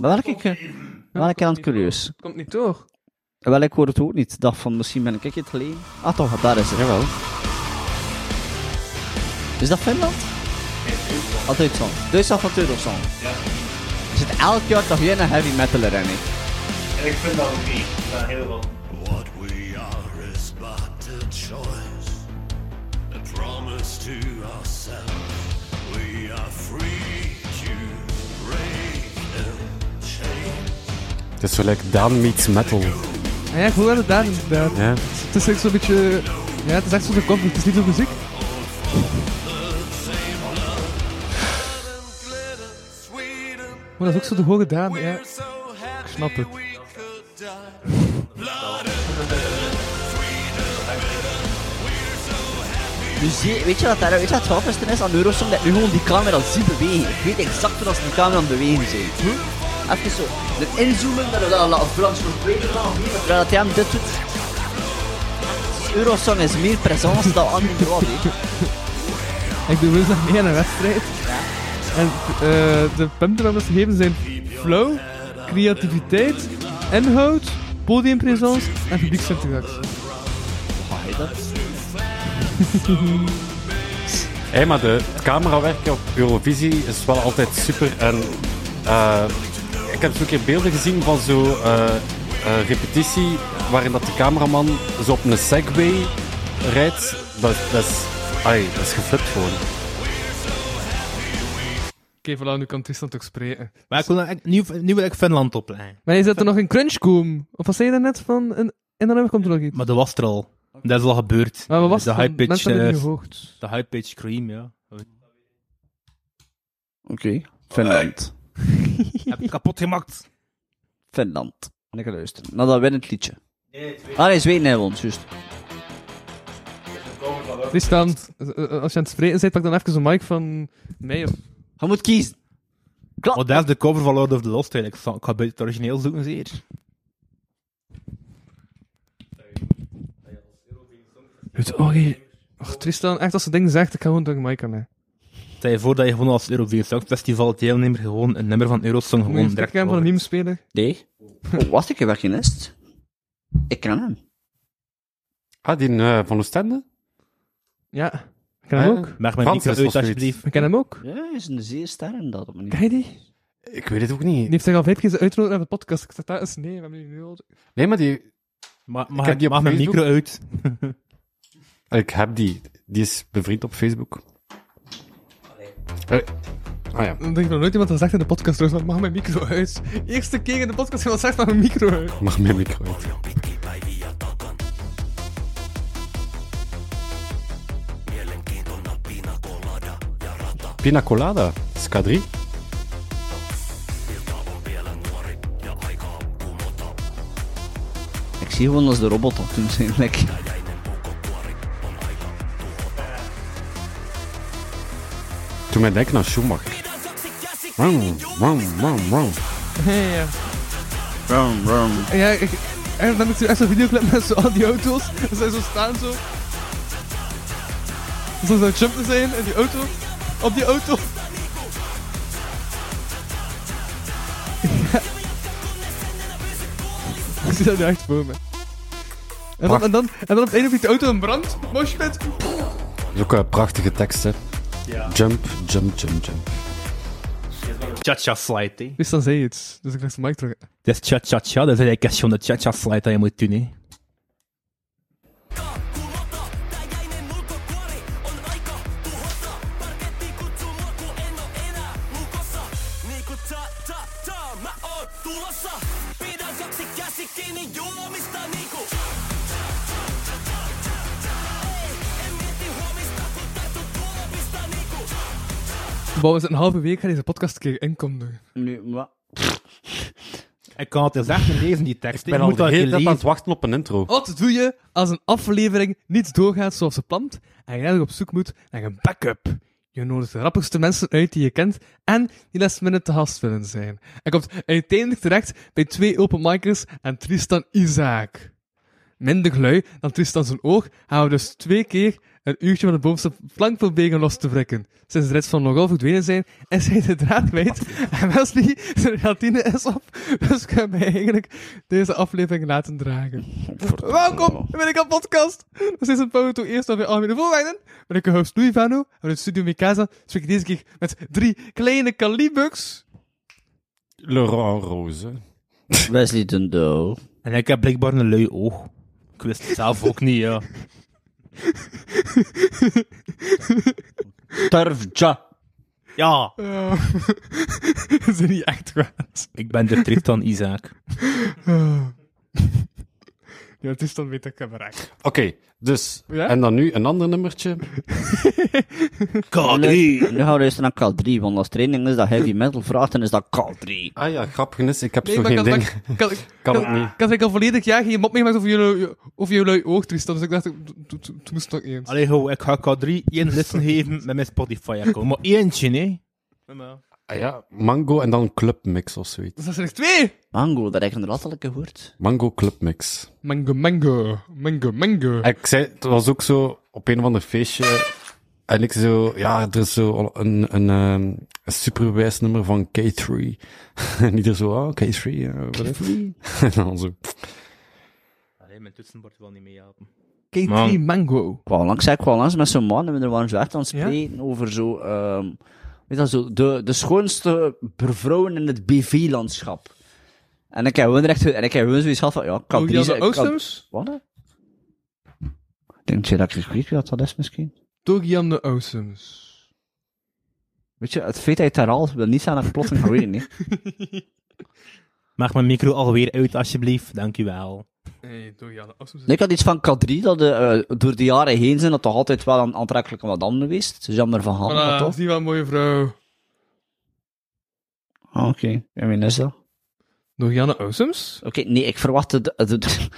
Maar welke, eh, welke aan het curieus? Eh, Komt niet door. Wel, ik hoor het ook niet. Ik dacht van, misschien ben ik het alleen. Ah, toch, daar is het. Jawel. Is dat Finland? Ah, Duitsland. Duitsland van Turtelson. Ja. Er zit elk jaar toch weer een heavy metal erin, hè? Ik vind dat ook niet. Dat is heel veel. What we are is but a choice, a promise to ourselves. We are free to break the chains. Het is gelijk Daan meets metal. En Ah ja, ik voel dat daar inderdaad. Ja. Het is echt zo'n beetje... Ja, het is echt zo'n koffer. Het is niet zo muziek. Maar dat is ook zo de hoge dame, ja. Ik snap het. Dus zie- weet je wat daar, weet je wat het grappigste is aan Eurosong? Dat nu gewoon die camera ziet bewegen. Ik weet exact waar als die camera aan het bewegen zijn. Even zo, een inzoomen, dat we dat laten Frans verbreden gaan, of niet, maar terwijl dat hij hem dit doet. Dus Eurosong is meer presence dan Andy Broad, hè. Ik doe woensdag mee aan een wedstrijd. En eh, de puntruimers gegeven zijn flow, creativiteit, inhoud, podiumpresence en publieksinteractie. Hé, maar de, het camerawerk op Eurovisie is wel altijd super. En eh, ik heb zo'n keer beelden gezien van zo'n repetitie waarin dat de cameraman zo op een Segway rijdt. Dat, dat is, ai, dat is geflipt gewoon. Oké, voilà, nu kan Tristan toch spreken. Maar ik wil dan echt- nu, nu wil ik Finland opleggen. Maar is dat er nog een crunch komen? Of wat zei je daarnet van... Een, en dan komt er nog iets. Maar dat was er al. Dat is al gebeurd. Maar wat was de het? high van- pitch, Mensen hebben het eh, niet gehoord. de high pitch scream, ja. Oké, Finland. Heb je kapot gemaakt? Finland. En ik ga luisteren. Nou, dat winnend liedje. Ah, nee, Zweden hebben we ons, juist. Tristan, eh, eh, als je aan het spreken bent, pak dan even een mic van mij. Of... Je moet kiezen. Want dat is de cover van Lord of the Lost eigenlijk. Ik zal- Ik ga bij het origineel zoeken, zeer. Het oh, oké. Tristan, echt als ze dingen zegt, ik ga gewoon door een mic aan mij. Stel je voor dat je gewoon als Eurovisie Songfestival deelnemer gewoon een nummer van Moet Eurosong je een gewoon direct... stuk hebben van een hoort. meme speler? Nee. Oh, wacht, ik heb wel geen nest. Ik ken hem. Ah, die eh, van Oostende? Ja. Ik ken hem Ah, ook. Mag mijn Frans micro is nog uit, zoiets. alsjeblieft. Ik ken hem ook. Ja, hij is een zeer ster in dat op een Ken je die? Ik weet het ook niet. Die heeft zich al vijf keer uitgenodigd naar de podcast. Ik zeg, dat is nee, we hebben die nu nodig. Nee, maar die... Ma heb mag ik die op mag mijn Facebook. micro uit? Ik heb die. Die is bevriend op Facebook. Eh, ah ja. Dan denk ik nog nooit iemand dat zegt in de podcast, trouwens, maar mag mijn micro uit. Eerste keer in de podcast iemand zegt maar mijn micro uit. Mag mijn micro uit. Pina Colada, dat is K3. Ik zie gewoon als de robot op toen zijn lek. Toen mij denken aan Schumacher. Vroom, vroom, vroom, vroom. Ja, ja. ja ik, en dan heb ik zo echt zo'n videoclip met zo al die auto's. En zij zo staan zo. Zo zo'n jumpen zijn in die auto. Op die auto. Ja. Ik zie dat nu echt voor me. En dan, en, dan, en dan op het einde vliegt de auto in brand. Moshpit. Dat is ook een prachtige tekst, hè. Jump, jump, jump, jump. Cha-cha slide, hè. Dus dan zei je iets. Dus ik leg de mic terug. Dat is cha-cha-cha, dat is eigenlijk echt gewoon de cha-cha slide dat je moet doen, hè. Bouwens, een halve week ga deze podcast een keer inkomen. Nu, maar... Ik kan het eens echt niet lezen, die tekst. Ik ben Je al moet de dat een hele keer tijd lezen. aan het wachten op een intro. Wat doe je als een aflevering niet doorgaat zoals ze plant en je eigenlijk op zoek moet naar een backup? Je nodigt de grappigste mensen uit die je kent en die last minute te gast willen zijn. En komt uiteindelijk terecht bij twee open micers en Tristan Isaac. Minder glui dan Tristan zijn oog gaan we dus twee keer een uurtje van de bovenste plank proberen los te wrikken. Sinds de rest van nogal verdwenen zijn, is hij de draad kwijt en Wesley zijn gelatine is op. Dus kunnen wij eigenlijk deze aflevering laten dragen. Welkom bij de podcast. Dit is een foto eerst alweer algemene voorwaarden. Ben ik uw host Louis Vano. En vanuit Studio Mikasa spreek ik deze keer met drie kleine kalibugs. Laurent Rose. Wesley Dundo. En ik heb blijkbaar een lui oog. Ik wist het zelf ook niet, ja. Turfja. Ja, Eh, Dat is niet echt kwaad. ik ben de Tristan Isaac. Eh. ja, het is dan weer dat camera. Oké, dus. Ja? En dan nu een ander nummertje. Nu, nu gaan we luisteren naar Kal 3, want als training is dat heavy metal vraagt, dan is dat Kal 3. Ah ja, grappig is, ik heb Nee, zo maar geen kan, kan, ding. kan, Kan het niet. Ik had eigenlijk al volledig jaar geen mop meegemaakt over jullie, over jullie oog, Tristan. Dus ik dacht, toen moest nog eens. Allee, ho, ik ga K3 één listen geven met mijn Spotify-account. Maar eentje, nee. Ah ja, Mango en dan Clubmix of zoiets. Dus dat zijn er twee! Mango, dat heb ik inderdaad al een keer gehoord. Mango Clubmix. Mango, mango, mango, mango. Ik zei, het was ook zo op een of ander feestje. En ik zo, ja, er is zo een, een, ehm, een superwijs nummer van K3. en ieder zo, ah, K3, ja, wat is het? En dan zo, Allee, mijn toetsenbord wil niet meehelpen. K3 Man. mango. Ik kwam langs, ik kwam langs met zo'n man en we waren zo echt aan het Ja? spreken over zo, ehm, weet je dat, zo de, de schoonste vrouwen in het BV-landschap. En ik heb gewoon echt, en ik heb gewoon zoiets gehad van, ja, Kal Oh, 3 Jan zijn... de Kal- Oostums? Wat? hè? Denk je dat ik weet wie dat dat is misschien? Door Jan de Oostums. Weet je, het feit dat je het herhaalt wil niet zijn dat ik plotseling ga weten, nee. Maak mijn micro alweer uit, alsjeblieft. Dankjewel. Nee, door Jan de Oostums. Nee, Ik had iets van K3 dat eh, eh, door de jaren heen zijn dat toch altijd wel een aantrekkelijke madame geweest. Het is jammer van Han, maar Voilà, toch? is die wel een mooie vrouw. Ah, Oké, en wie is dat? Door Jan de Oostums? Oké, nee, ik verwachtte... de- de- de-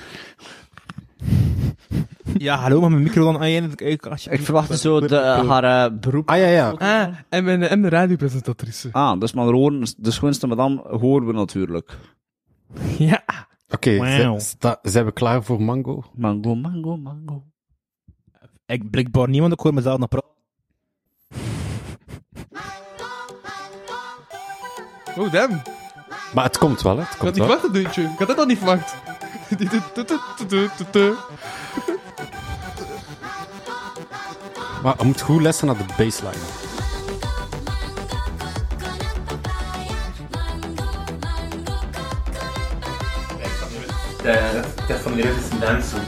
Ja, hallo, mag mijn micro dan aan je in het keuken, alsjeblieft? ik verwachtte zo de, haar eh, beroep. ah ja, ja. Ah, en mijn, en mijn radiopresentatrice. Ah, dus maar horen, de schoonste madame horen we natuurlijk. Ja. Oké, Wauw. zi- sta- zijn we klaar voor Mango? Mango, mango, mango. Ik blijkbaar niemand, ik hoor mezelf nog praten. Oh, damn. Maar het komt wel, hè? Het Ik had komt niet wel. verwacht, dat deuntje. Ik had dat al niet verwacht. Die doet tu- tu- tu- tu- tu- tu. Maar je moet goed lessen naar de baseline. Dat is van die Russische dansen.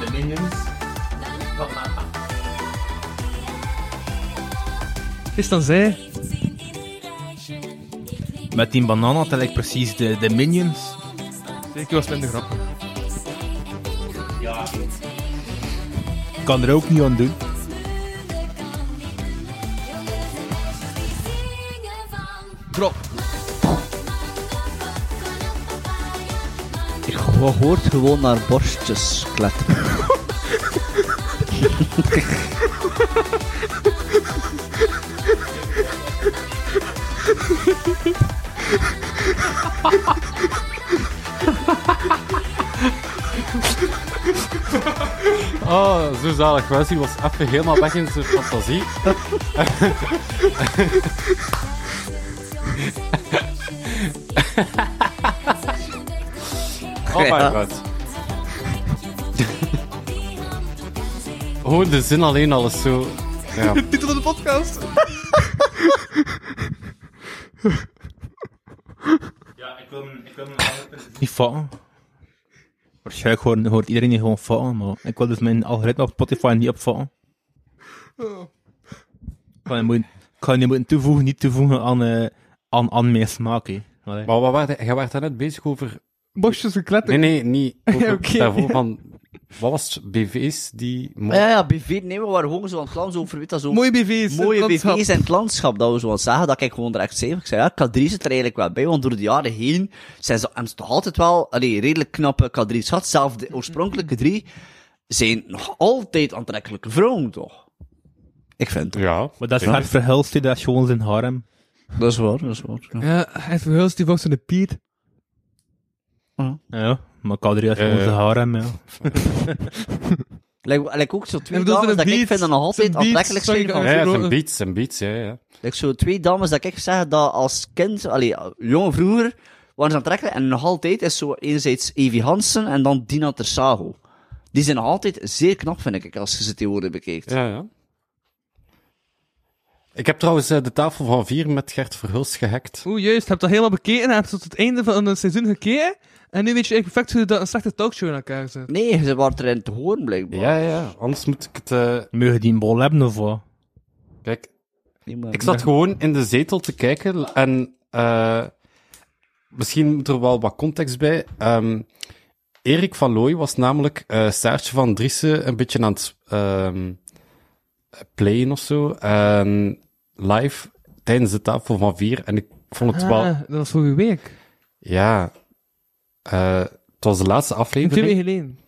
De minions. Wat maar. Tristan zei... Met die bananen tel ik precies de, de minions. Ik was minder grappig. Kan er ook niet aan doen. Drop. Ik ho- hoort gewoon naar borstjes kletteren. Oh, zo zalig. Wesley was even helemaal weg in zijn fantasie. oh my Ja. god. Oh, de zin alleen al is zo... Ja. Titel van de podcast. Ja, ik wil ik wil Niet vallen. Waarschijnlijk hoort, hoort iedereen hier gewoon vallen, maar ik wil dus mijn algoritme op Spotify niet opvallen. Oh. Ik kan je moeten, ik kan je moeten toevoegen, niet toevoegen aan, eh, aan, aan mijn smaak. hè. Allee. Maar wat waren, jij werd daarnet bezig over... Bosjes gekletterd. Nee, nee, niet over Oké, daarvoor ja. van... Wat was het? BV's die... mo- Ja, ja, BV, nee, we waren gewoon zo aan het land, zo over, weet dat, zo... Mooie BV's. mooie dat is BV's in het landschap, dat we zo aan het zagen, dat ik gewoon er echt zei, ik zei, ja, K3 zit er eigenlijk wel bij, want door de jaren heen zijn ze, en ze toch altijd wel, allee, redelijk knappe K3's gehad, zelfs de oorspronkelijke drie zijn nog altijd aantrekkelijke vrouwen, toch? Ik vind het. Ja. Maar dat is hard verhulst, hè, dat is gewoon zijn harem. Dat is waar, dat is waar. ja. Ja, en verhuis die volgens de Piet. Ja, maar Kadri is gewoon Eh. zijn harem, ja. Lijkt lijkt ook zo twee En bedoel, dames zo'n dat ik beat, vind dat nog altijd zo'n beat, aantrekkelijk zijn. sorry, ik- Ja, Als, ja, zijn beats, zijn beats, ja, ja. lijkt zo twee dames dat ik zeg dat als kind, allee, jongen vroeger, waren ze aantrekkelijk en nog altijd is zo enerzijds Evie Hansen en dan Dina Tersago. Die zijn nog altijd zeer knap, vind ik, als je ze tegenwoordig bekijkt. Ja, ja. Ik heb trouwens eh, de tafel van vier met Gert Verhulst gehackt. Oeh, juist. Heb dat helemaal bekeken en heb tot het einde van het seizoen gekeken. En nu weet je eigenlijk perfect hoe dat een slechte talkshow in elkaar zit. Nee, ze waren erin te horen, blijkbaar. Ja, ja, anders moet ik het... eh, Mogen die een bol hebben of wat? Kijk, Nee, maar- ik zat gewoon in de zetel te kijken en eh, misschien moet er wel wat context bij. Ehm, Erik van Looy was namelijk eh Saartje van Driessen een beetje aan het ehm, playen of zo. En live tijdens de tafel van vier. En ik vond het wel... Ah, dat was vorige week. Ja, eh, het was de laatste Twee aflevering. weken geleden.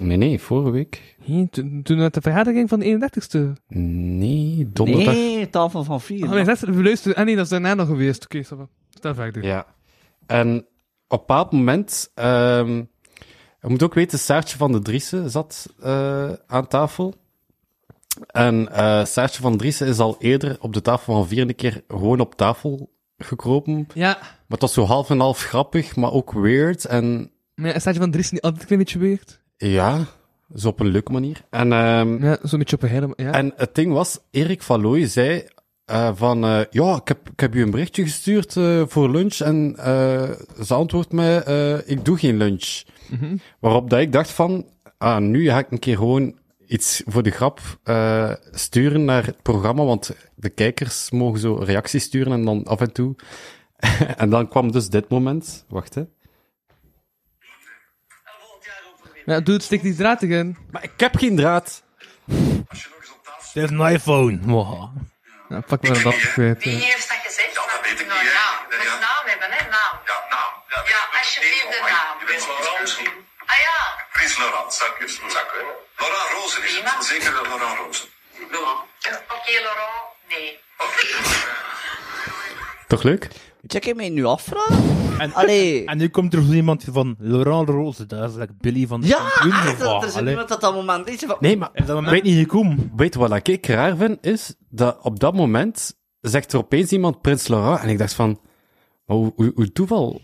Nee, nee, vorige week. Hé, toen, toen uit de vergadering van de 31ste. Nee, donderdag. Nee, tafel van vier. Oh, nee, dat is- luister, ah nee, dat is daarna nog geweest. Oké, okay, Stel verder. Ja. En op een bepaald moment... ehm je moet ook weten, Saartje van de Driessen zat eh, aan tafel. En eh Saartje van Driessen is al eerder op de tafel van vier een keer gewoon op tafel gekropen. Ja, Maar het was zo half en half grappig, maar ook weird. En maar ja, staat je van Dries niet altijd een klein beetje weegt? ja, zo op een leuke manier. En... ehm Ja, zo'n beetje op een hele... Ja. En het ding was, Erik van Looy zei eh, van, eh, ja, ik heb, ik heb u een berichtje gestuurd eh, voor lunch en eh, ze antwoordt mij, eh, ik doe geen lunch. Waarop dat ik dacht van, ah, nu ga ik een keer gewoon iets voor de grap eh, sturen naar het programma, want de kijkers mogen zo reacties sturen en dan af en toe. en dan kwam dus dit moment. Wacht, hè. Ja, doe het, stik die draad in. Maar ik heb geen draad. Het is een iPhone. Wow. Ja, pak maar dat kwijt. Die Ja. heeft dat gezegd? Ja, dat weet ik Nou, niet, hè. ja, moet Ja. naam hebben, hè, naam. Ja, naam. Ja, Ja, alsjeblieft de naam. Prins Laurent. Ah ja, Prins Laurent, zou ik eerst zou kunnen. Laurent Rozen is Prima. het. Zeker wel Laurent Rozen. Laurent. Oké, Laurent, nee. Toch leuk? Check ik mij nu afvragen? Allee. En nu komt er zo iemand van Laurent Rose, dat is like Billy van de ja, kampioen of echt, wat, er zit allee. iemand dat dat moment is. van- Nee, maar Is dat moment niet gekomen? Weet je wat ik raar vind? Is dat op dat moment zegt er opeens iemand Prins Laurent. En ik dacht van, maar hoe, hoe, hoe toeval?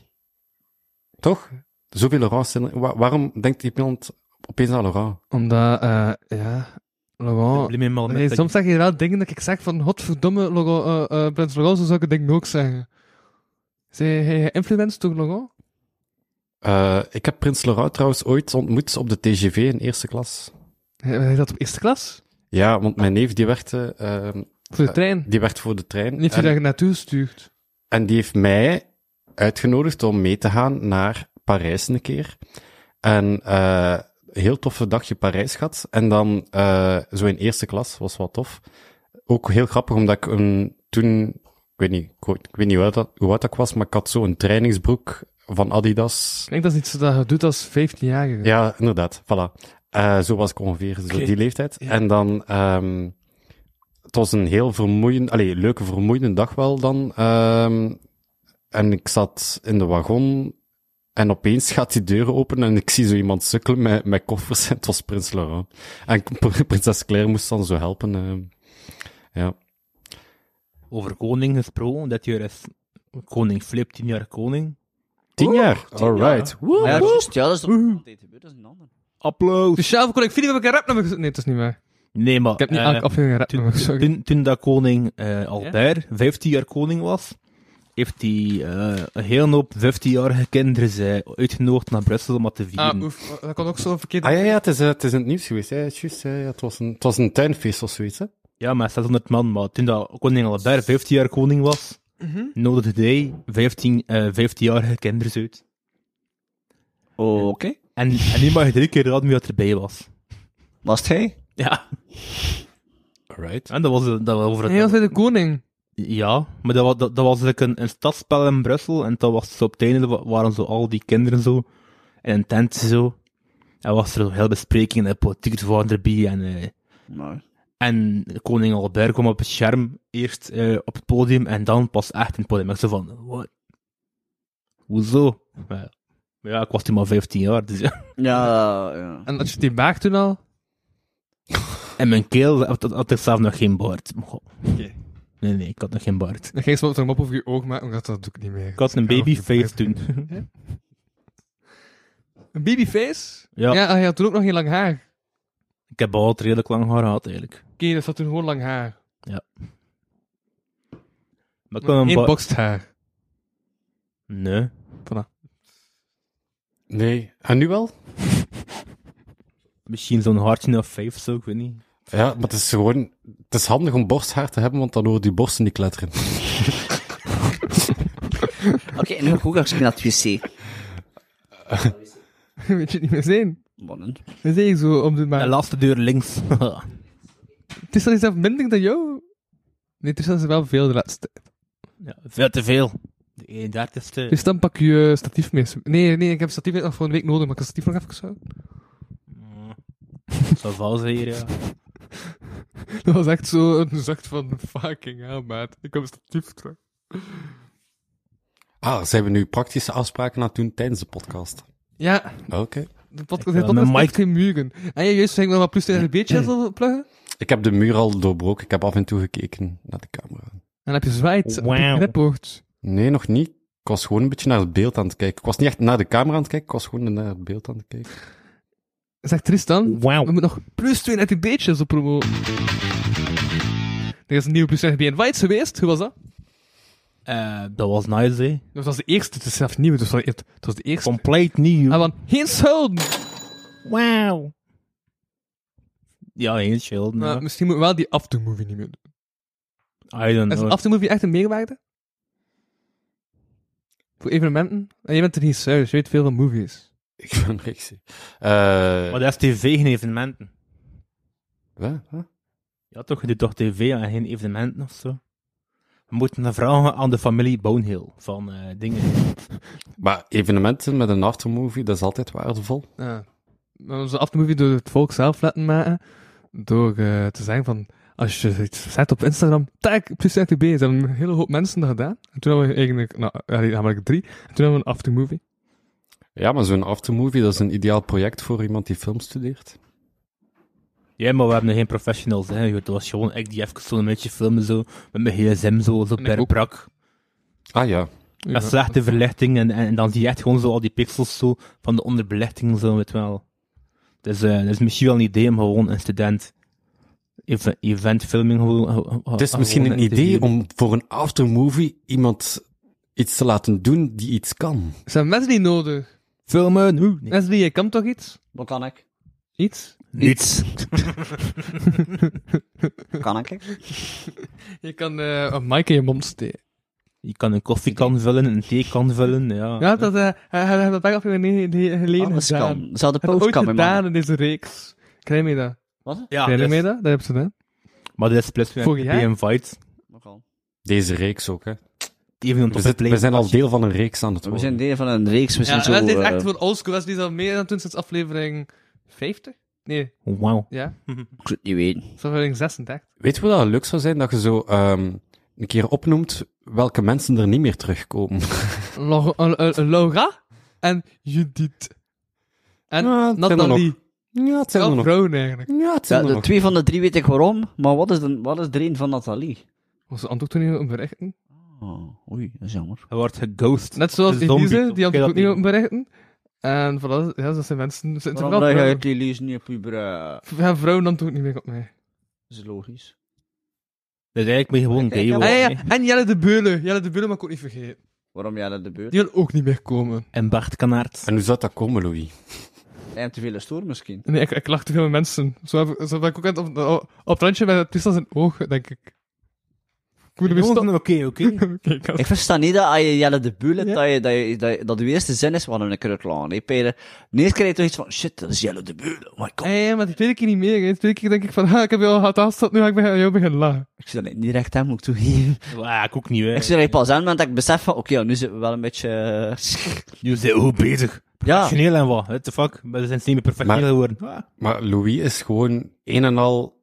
Toch? Zoveel Laurent zijn er- wa- waarom denkt iemand opeens aan Laurent? Omdat, eh ja... Laurent... Blijf me maar Nee, met Oh, soms zeg je wel dingen dat ik zeg van... Godverdomme, Laurent, eh, eh, Prins Laurent, zo zou ik het ding ook zeggen. Zij hij influenced toch, Laurent? Eh, ik heb Prins Laurent trouwens ooit ontmoet op de TGV in eerste klas. Hij, hij zat op eerste klas? Ja, want mijn neef die werkte, ehm, Voor de trein. die werkte voor de trein. En heeft hij En, daar naartoe gestuurd? en die heeft mij uitgenodigd om mee te gaan naar Parijs een keer. En eh heel toffe dagje Parijs gehad. En dan eh, zo in eerste klas, was wel tof. Ook heel grappig, omdat ik een, toen, ik weet niet, ik, weet- ik weet niet hoe oud, dat, hoe oud ik was, maar ik had zo'n trainingsbroek van Adidas. Ik denk dat is iets dat je doet als 15-jarige. Ja, inderdaad, voilà. Eh, zo was ik ongeveer, zo die leeftijd. En dan, ehm, het was een heel vermoeiend, allee, leuke vermoeiende dag wel dan. Ehm, en ik zat in de wagon en opeens gaat die deur open en ik zie zo iemand sukkelen met, met koffers. En het was Prins Laurent. En k- prinses Claire moest dan zo helpen. ehm. ja. Over koning gesproken, dat jaar is koning Flip, tien jaar koning. Tien jaar. Alright. Woe. Ah ja, juist, ja, dat is toch altijd gebeurd, dat is een ander. Applaus. Dus ja, voor ik video heb ik een rapnummer gezet. Nee, dat is niet waar. Nee, maar... Ik heb niet eh, elke aflevering een toen, rapnummer, sorry. toen, toen dat koning eh Albert 15 jaar koning was, heeft hij eh, een hele hoop 15-jarige kinderen zij, uitgenodigd naar Brussel om het te vieren. Ah, oef, dat kan ook zo verkeerd. Ah ja, ja het, is, eh, het is in het nieuws geweest. Ja, juist, ja, ja, het, was een, het was een tuinfeest of zoiets. Hè? Ja, maar 600 man. Maar toen dat koning Albert 15 jaar koning was, Mhm. nodigde hij 15, eh 15-jarige kinderen uit. Oké. En, en die mag drie keer raden wie dat erbij was. Was het hij? Ja. Alright. En dat was, dat was over het... Hij was bij de koning. Ja, maar dat, wa- dat, dat was like een, een stadsspel in Brussel. En dat was zo op het einde wa- waren zo al die kinderen zo in een tent zo. En was er zo heel bespreking en de politiek waren erbij. En, eh, Nou, en koning Albert kwam op het scherm eerst eh, op het podium en dan pas echt in het podium. Ik zo van, wat? Hoezo? Maar ja, maar ja, ik was toen maar 15 jaar. Dus, ja. Ja, ja. En had je die baag toen al? en mijn keel had, had- had ik zelf nog geen baard. Maar goh. Nee, nee, ik had nog geen baard. Dan ging ze wat een mop over je oog maken, maar dat doe ik niet meer. Ik had een babyface toen. Een babyface? Ja. Ja, hij had toen ook nog geen lang haar. Oké, Ik heb altijd redelijk lang haar gehad eigenlijk. dat zat toen gewoon lang haar. Maar ik had een Eén baard. boxed haar. Nee. Nee. En nu wel? Misschien zo'n hartje of vijf zo, ik weet niet. Ja, maar het is gewoon... Het is handig om borsthaar te hebben, want dan horen die borsten niet kletteren. Oké, nu hoe ga ik naar het wc? Weet je het niet meer zijn? Mannen. Dat zei ik zo op de De maand. laatste deur links. Tristan is zelf minder dan jou? Nee, Tristan is wel veel de laatste. ja, veel te veel. De 31ste. Tristan, pak je eh, statief mee. Nee, nee, ik heb statief nog voor een week nodig, maar ik kan statief nog even zo. Zo vals hier, ja. Dat was echt zo een zucht van fucking hell, maat. Ik heb statief terug. Ah, zijn we nu praktische afspraken aan het doen tijdens de podcast? Ja, Oké. de podcast Ja, heeft mijn podcast heeft mic- geen muren. En je juist ging nog wat plus tegen een beetje zo pluggen. Ik heb de muur al doorbroken. Ik heb af en toe gekeken naar de camera. En dan heb je zwaait op je Wauw. knipoort. Nee, nog niet. Ik was gewoon een beetje naar het beeld aan het kijken. Ik was niet echt naar de camera aan het kijken, ik was gewoon naar het beeld aan het kijken. Zegt Tristan, Wauw. we moeten nog plus 32 beetjes op promo. Er is een nieuwe plus 32 bij Invites geweest. Hoe was dat? Eh, dat was nice, hè. Dat was de eerste. Het is zelf nieuw. Dus het het was de eerste. Compleet nieuw. En van, geen schulden. Ah, Wauw. Ja, heel chill. Maar Ja. misschien moet wel die aftermovie niet meer doen. I don't Is een know. aftermovie echt een meerwaarde? Voor evenementen? En jij bent er niet serieus. Je weet veel van movies. Ik ben rechts. Eh Maar dat is tv, geen evenementen. wat? Wat? Ja, toch, je doet toch tv en geen evenementen of zo? We moeten dat vragen aan de familie Bonehill van eh, dingen. Maar evenementen met een aftermovie, dat is altijd waardevol. Ja. Maar onze aftermovie door het volk zelf laten maken. Door eh, te zeggen van, als je iets zet op Instagram, tag plus 30 B. Ze hebben een hele hoop mensen dat gedaan. En toen hebben we eigenlijk, nou, allee, namelijk drie. En toen hebben we een aftermovie. Ja, maar zo'n aftermovie, dat is een ideaal project voor iemand die film studeert. Ja, maar we hebben nog geen professionals, hè. Het was gewoon ik die even zo'n beetje filmen, zo, met mijn gsm, zo, zo ik per ook. brak. Ah ja. Ja, slechte verlichting en, en, en dan zie je echt gewoon zo al die pixels zo van de onderbelichting zo, weet wel. Dus eh dat is misschien wel een idee om gewoon een student even eventfilming Ah, gewoon... Het is misschien een idee om voor een aftermovie iemand iets te laten doen die iets kan. Ze hebben mensen niet nodig. Filmen nu! Nee. Mensen die, jij kan toch iets? Wat kan ik? Iets? Niets. kan ik? Je kan eh een mic in je mond steken. Je kan een koffiekan vullen, een theekan vullen, ja. Ja, dat eh, hij hij heeft dat back geleden gedaan. Alles kan. Zou de Hij heeft post ooit kan Ah, mijn gedaan man. in deze reeks. Krijg je dat? Wat? Ja, Krijg je dus- mee dat? Dat heb je gedaan. maar dat is plus weer Vorig jaar? een invite. Nogal. Deze reeks ook, hè. Even een We, toffe zit- we play. zijn al deel van een reeks aan het We worden. zijn deel van een reeks. We zijn Ja, zo... dat is eh, echt voor oldschool. Dat is niet al meer dan toen sinds aflevering 50? Nee, Wauw. ja. Ik zou het niet weten. Sinds aflevering 36. Weet je wat dat leuk zou zijn? Dat je zo ehm, een keer opnoemt welke mensen er niet meer terugkomen. Lo- eh, eh, Laura en Judith. En Ja, het zijn er Nathalie. Ja, het zijn er Wel nog. vrouwen eigenlijk. Ja, het Ja, zijn er de nog. twee van de drie weet ik waarom, maar wat is, de, wat is er een van Nathalie? Was ze antwoord toen niet op berichten? Oh, oei, dat is jammer. Hij wordt geghost. Net zoals De zombie, Elise, die toch? Ken antwoord dat ook niet niet? op berichten. En voilà, ja, dat zijn mensen. dat Zijn Waarom leg vooral je vrouwen. het die lees niet op je bra? Ja, vrouwen dan ook niet meer op mij. Dat is logisch. Dus eigenlijk moet je gewoon Kijk, gay ja, worden. Ah, ja, hè. ja. En Jelle de Beulen. Jelle de Beulen mag ik ook niet vergeten. Waarom jij dat de beurt? Die wil ook niet meer komen. En Bart Kanaert. En hoe zou dat komen, Louis? Hij heeft te veel stoer misschien. Nee, ik, ik lach te veel met mensen. Zo, heb, zo ben ik ook aan het op, op, op het randje met Tristan zijn oog, denk ik. moet Jongens, weer stoppen. Oké, oké. Oké, Kas. Ik versta niet dat als je Jelle de Bulet, dat, je, dat, je, dat, je- dat de eerste zin is van een krutlaan. Nee, Peter. Nee, krijg je toch iets van, shit, dat is Jelle de Bulet. Oh my god. Eh, maar de tweede keer niet meer. Hè. De tweede keer denk ik van, ha, ik heb jou al gehad afstand, nu ga ik bij jou beginnen lachen. Ik zie dat niet recht aan, moet ik toegeven. Ja, ik ook niet, hè. Ik zie dat je pas aan bent dat ik besef van, oké, ja, nu zitten we wel een beetje... eh, Nu zijn we goed bezig. ja. Professioneel en wat, what the fuck. We zijn semi-professioneel Maar- geworden. Ah, Maar Louis is gewoon een en al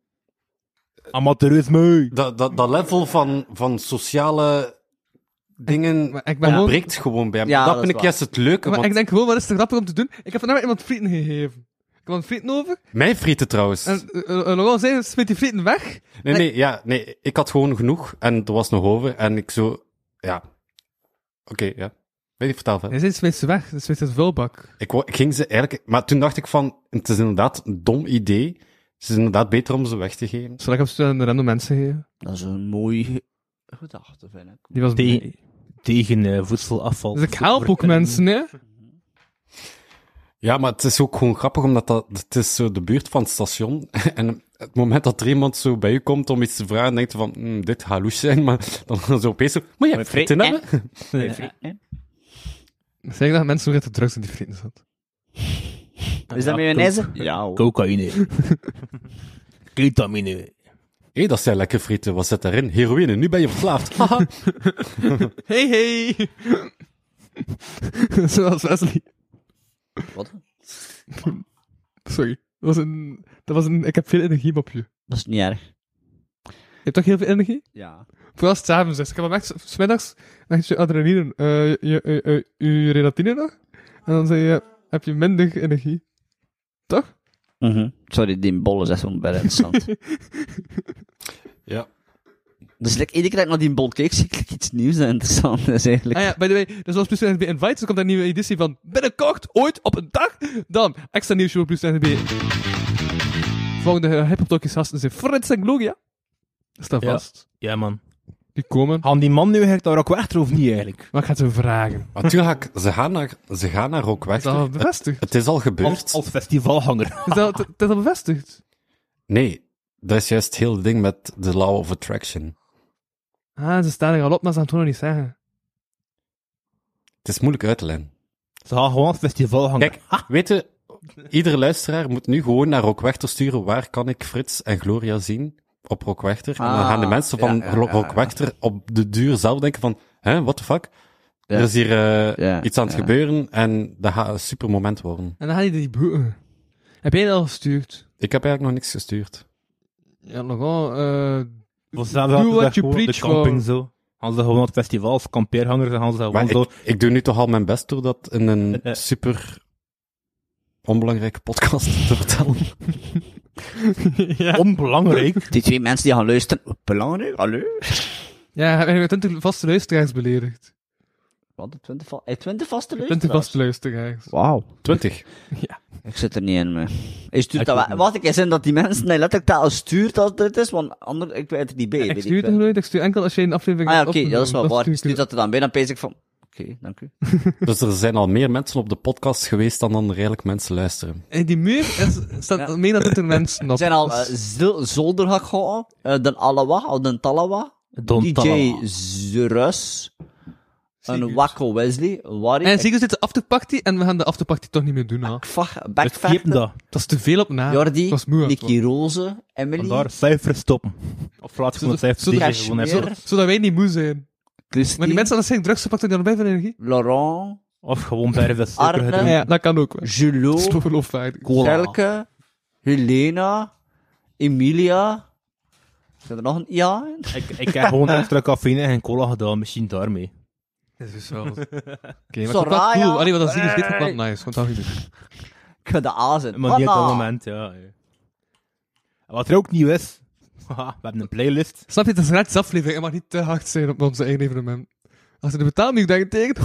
Ah, Amateurisme. dat, dat, dat level van, van sociale dingen Maar ik ben ja. gewoon... breekt gewoon bij hem. Ja, dat, dat is vind ik waar. juist het leuke, Maar want ik denk gewoon, wat is te grappig om te doen? Ik heb vandaag iemand frieten gegeven. Ik had een frieten over. mijn frieten trouwens. En eh, eh, Laurent zei, smeet die frieten weg. nee, nee, ja, nee, ik had gewoon genoeg en er was nog over en ik zo, ja. Oké, ja. Weet ik, vertel Hij verder. zei, smeet ze weg. Ze smeet ze in de vuilbak. Ik, wou- ik ging ze eigenlijk, maar toen dacht ik van, het is inderdaad een dom idee. Het is inderdaad beter om ze weg te geven. Zal ik hem zo aan de random mensen geven? Dat is een mooie gedachte, vind ik. Die was Die- blij. Tegen eh, voedselafval. Dus ik help ook mensen, hè. Ja, maar het is ook gewoon grappig, omdat dat, het is zo de buurt van het station. En het moment dat er iemand zo bij u komt om iets te vragen, denkt u van, "Hmm, dit halouche zijn, maar dan zo opeens zo, moet je frieten frieten, hebben? Eh, Zeg ik dat mensen nog te drugs in die frieten zat. Is dat mayonaise? Ja, hoor. Cocaïne. Ketamine. Hé, dat zijn lekker frieten, wat zit daarin? Heroïne, nu ben je verslaafd. Haha. Hey, hey! Zoals Wesley. Wat? Sorry. Dat was een... Dat was een... Ik heb veel energie, mopje. Dat is niet erg. Je hebt toch heel veel energie? Ja. Vooral als het s'avonds is. Ik heb hem echt s- smiddags dan heb je adrenaline, eh, je, je, je, je, je relatine nog. En dan zeg je, heb je minder energie. Toch? Mhm. Sorry, die bol is echt onberend. ja. dus like, iedere keer dat ik naar die bol keek, zie ik like, iets nieuws en interessant is eigenlijk. Ah ja, by the way, dus zoals Plus NB Invite, er komt een nieuwe editie van binnenkort, ooit, op een dag, dan extra nieuws voor Plus NB. Volgende uh, hip talkies gasten zijn Frits en Gloria. Sta Ja. vast. Ja, man. Die komen. Gaan die man nu eigenlijk daar ook achter of niet eigenlijk? Maar ik ga ze vragen. Natuurlijk, ze gaan naar, ze gaan naar ook Is dat al weg. bevestigd? Het is al gebeurd. Als, als festivalhanger. Is dat, het is al bevestigd? Nee, dat is juist het hele ding met de law of attraction. Ah, ze staan er al op, maar ze gaan het gewoon nog niet zeggen. Het is moeilijk uit te leggen. Ze gaan gewoon als festivalhanger. Kijk, weet je, iedere luisteraar moet nu gewoon naar Rockwechter sturen waar kan ik Frits en Gloria zien op Rockwechter. en dan Ah, gaan de mensen van ja, ja, Ro- ja, ja. Rockwechter op de duur zelf denken van, hè, what the fuck? Ja. Er is hier eh, Ja, iets aan het ja. gebeuren en dat gaat een super moment worden. En dan gaan die die boeken. Heb jij dat al gestuurd? Ik heb eigenlijk nog niks gestuurd. Ja, nogal. eh Voor hetzelfde geld Do is what dat you gewoon preach, de camping gewoon. zo. Gaan ze gewoon als festivals, kampeerhangers en gaan ze gewoon Maar zo. ik, ik doe nu toch al mijn best door dat in een Eh, eh. super onbelangrijke podcast te vertellen. Onbelangrijk. Die twee mensen die gaan luisteren. Belangrijk, hallo? ja, heb je 20 vaste luisteraars beledigd? Wat, 20, va eh, 20 vaste 20 luisteraars? vaste luisteraars. Wauw. Twintig. Ik zit er niet in, man. Hij stuurt Ik dat ook wel- niet. Wat ik is in dat die mensen die letterlijk dat al stuurt als dit is, want anders, ik weet het niet bij. ik weet ik stuur het nog wel. nooit, ik stuur enkel als je een aflevering Ah ja, hebt oké, ja, dat is wel opgenomen. waar. Ik stuur stuur ik- dat er dan bij, dan pees ik van, oké, dank u. Dus er zijn al meer mensen op de podcast geweest dan, dan er eigenlijk mensen luisteren. En die muur is, staat Ja. meer dan 20 mensen op. Er zijn al eh, zil- Zolderhak gehad, eh, Den Alawa, al Den Talawa, Don DJ Talawa. Zerus, een Sigurd. Wakko Wesley, Wari, En zeker zit de afterparty en we gaan de afterparty toch niet meer doen. hè. Ekvach, Het kiept Backfactor, dat. Dat is te veel op na. Jordi, Dat is moe. Nicky Rose, Emily, Vandaar cijfers stoppen. Of laat Zo- gewoon cijfers zo- tegen, gewoon even. Cashmere, Zodat wij niet moe zijn. Maar die Christine, mensen aan de drugs pakken die nog bij van energie. Laurent, Of gewoon verder Arne. Ja, suiker ja, dat kan ook. wel. Dat is Julot, toch geloofwaardig. Cola. Selke, Helena, Emilia. Zijn er nog een ja in? Ik, ik heb gewoon extra cafeïne en cola gedaan, misschien daarmee. Dat is wel. Oké, maar dat is wel Soraya. cool. Allee, want dat zie ik is dit Hey. wel nice. Want dat is het. Ik ga de A zijn. Maar niet op dat Anna. moment, ja. ja. Wat er ook nieuw is, haha, we hebben een playlist. Snap je, het is een gratis aflevering. Je mag niet te hard zijn op onze eigen evenement. Als je de betaalmuur tegen tekent...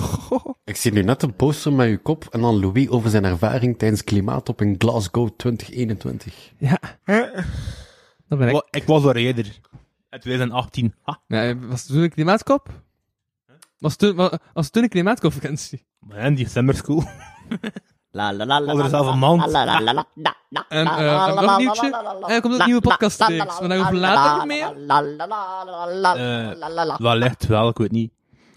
Ik zie nu net een poster met uw kop en dan Louis over zijn ervaring tijdens klimaatop in Glasgow 2021. Ja. Dat ben ik. Wa- Ik was daar eerder. In 2018. Ha, Nee, was het toen een klimaatkop? Was het toen, wa- was het toen een klimaatconferentie? maar in die summer school. La la la la. Hadden we zelf een man. mand. La la la la. la, la, En, la, eh, la, en la, nog een la, nieuwtje. la, la, la, En er komt een la, nieuwe la, podcastreeks, la, la, maar daarover la, later la, meer. la, la, la, la, la, Eh, la, la, la. Wellicht wel, ik weet niet.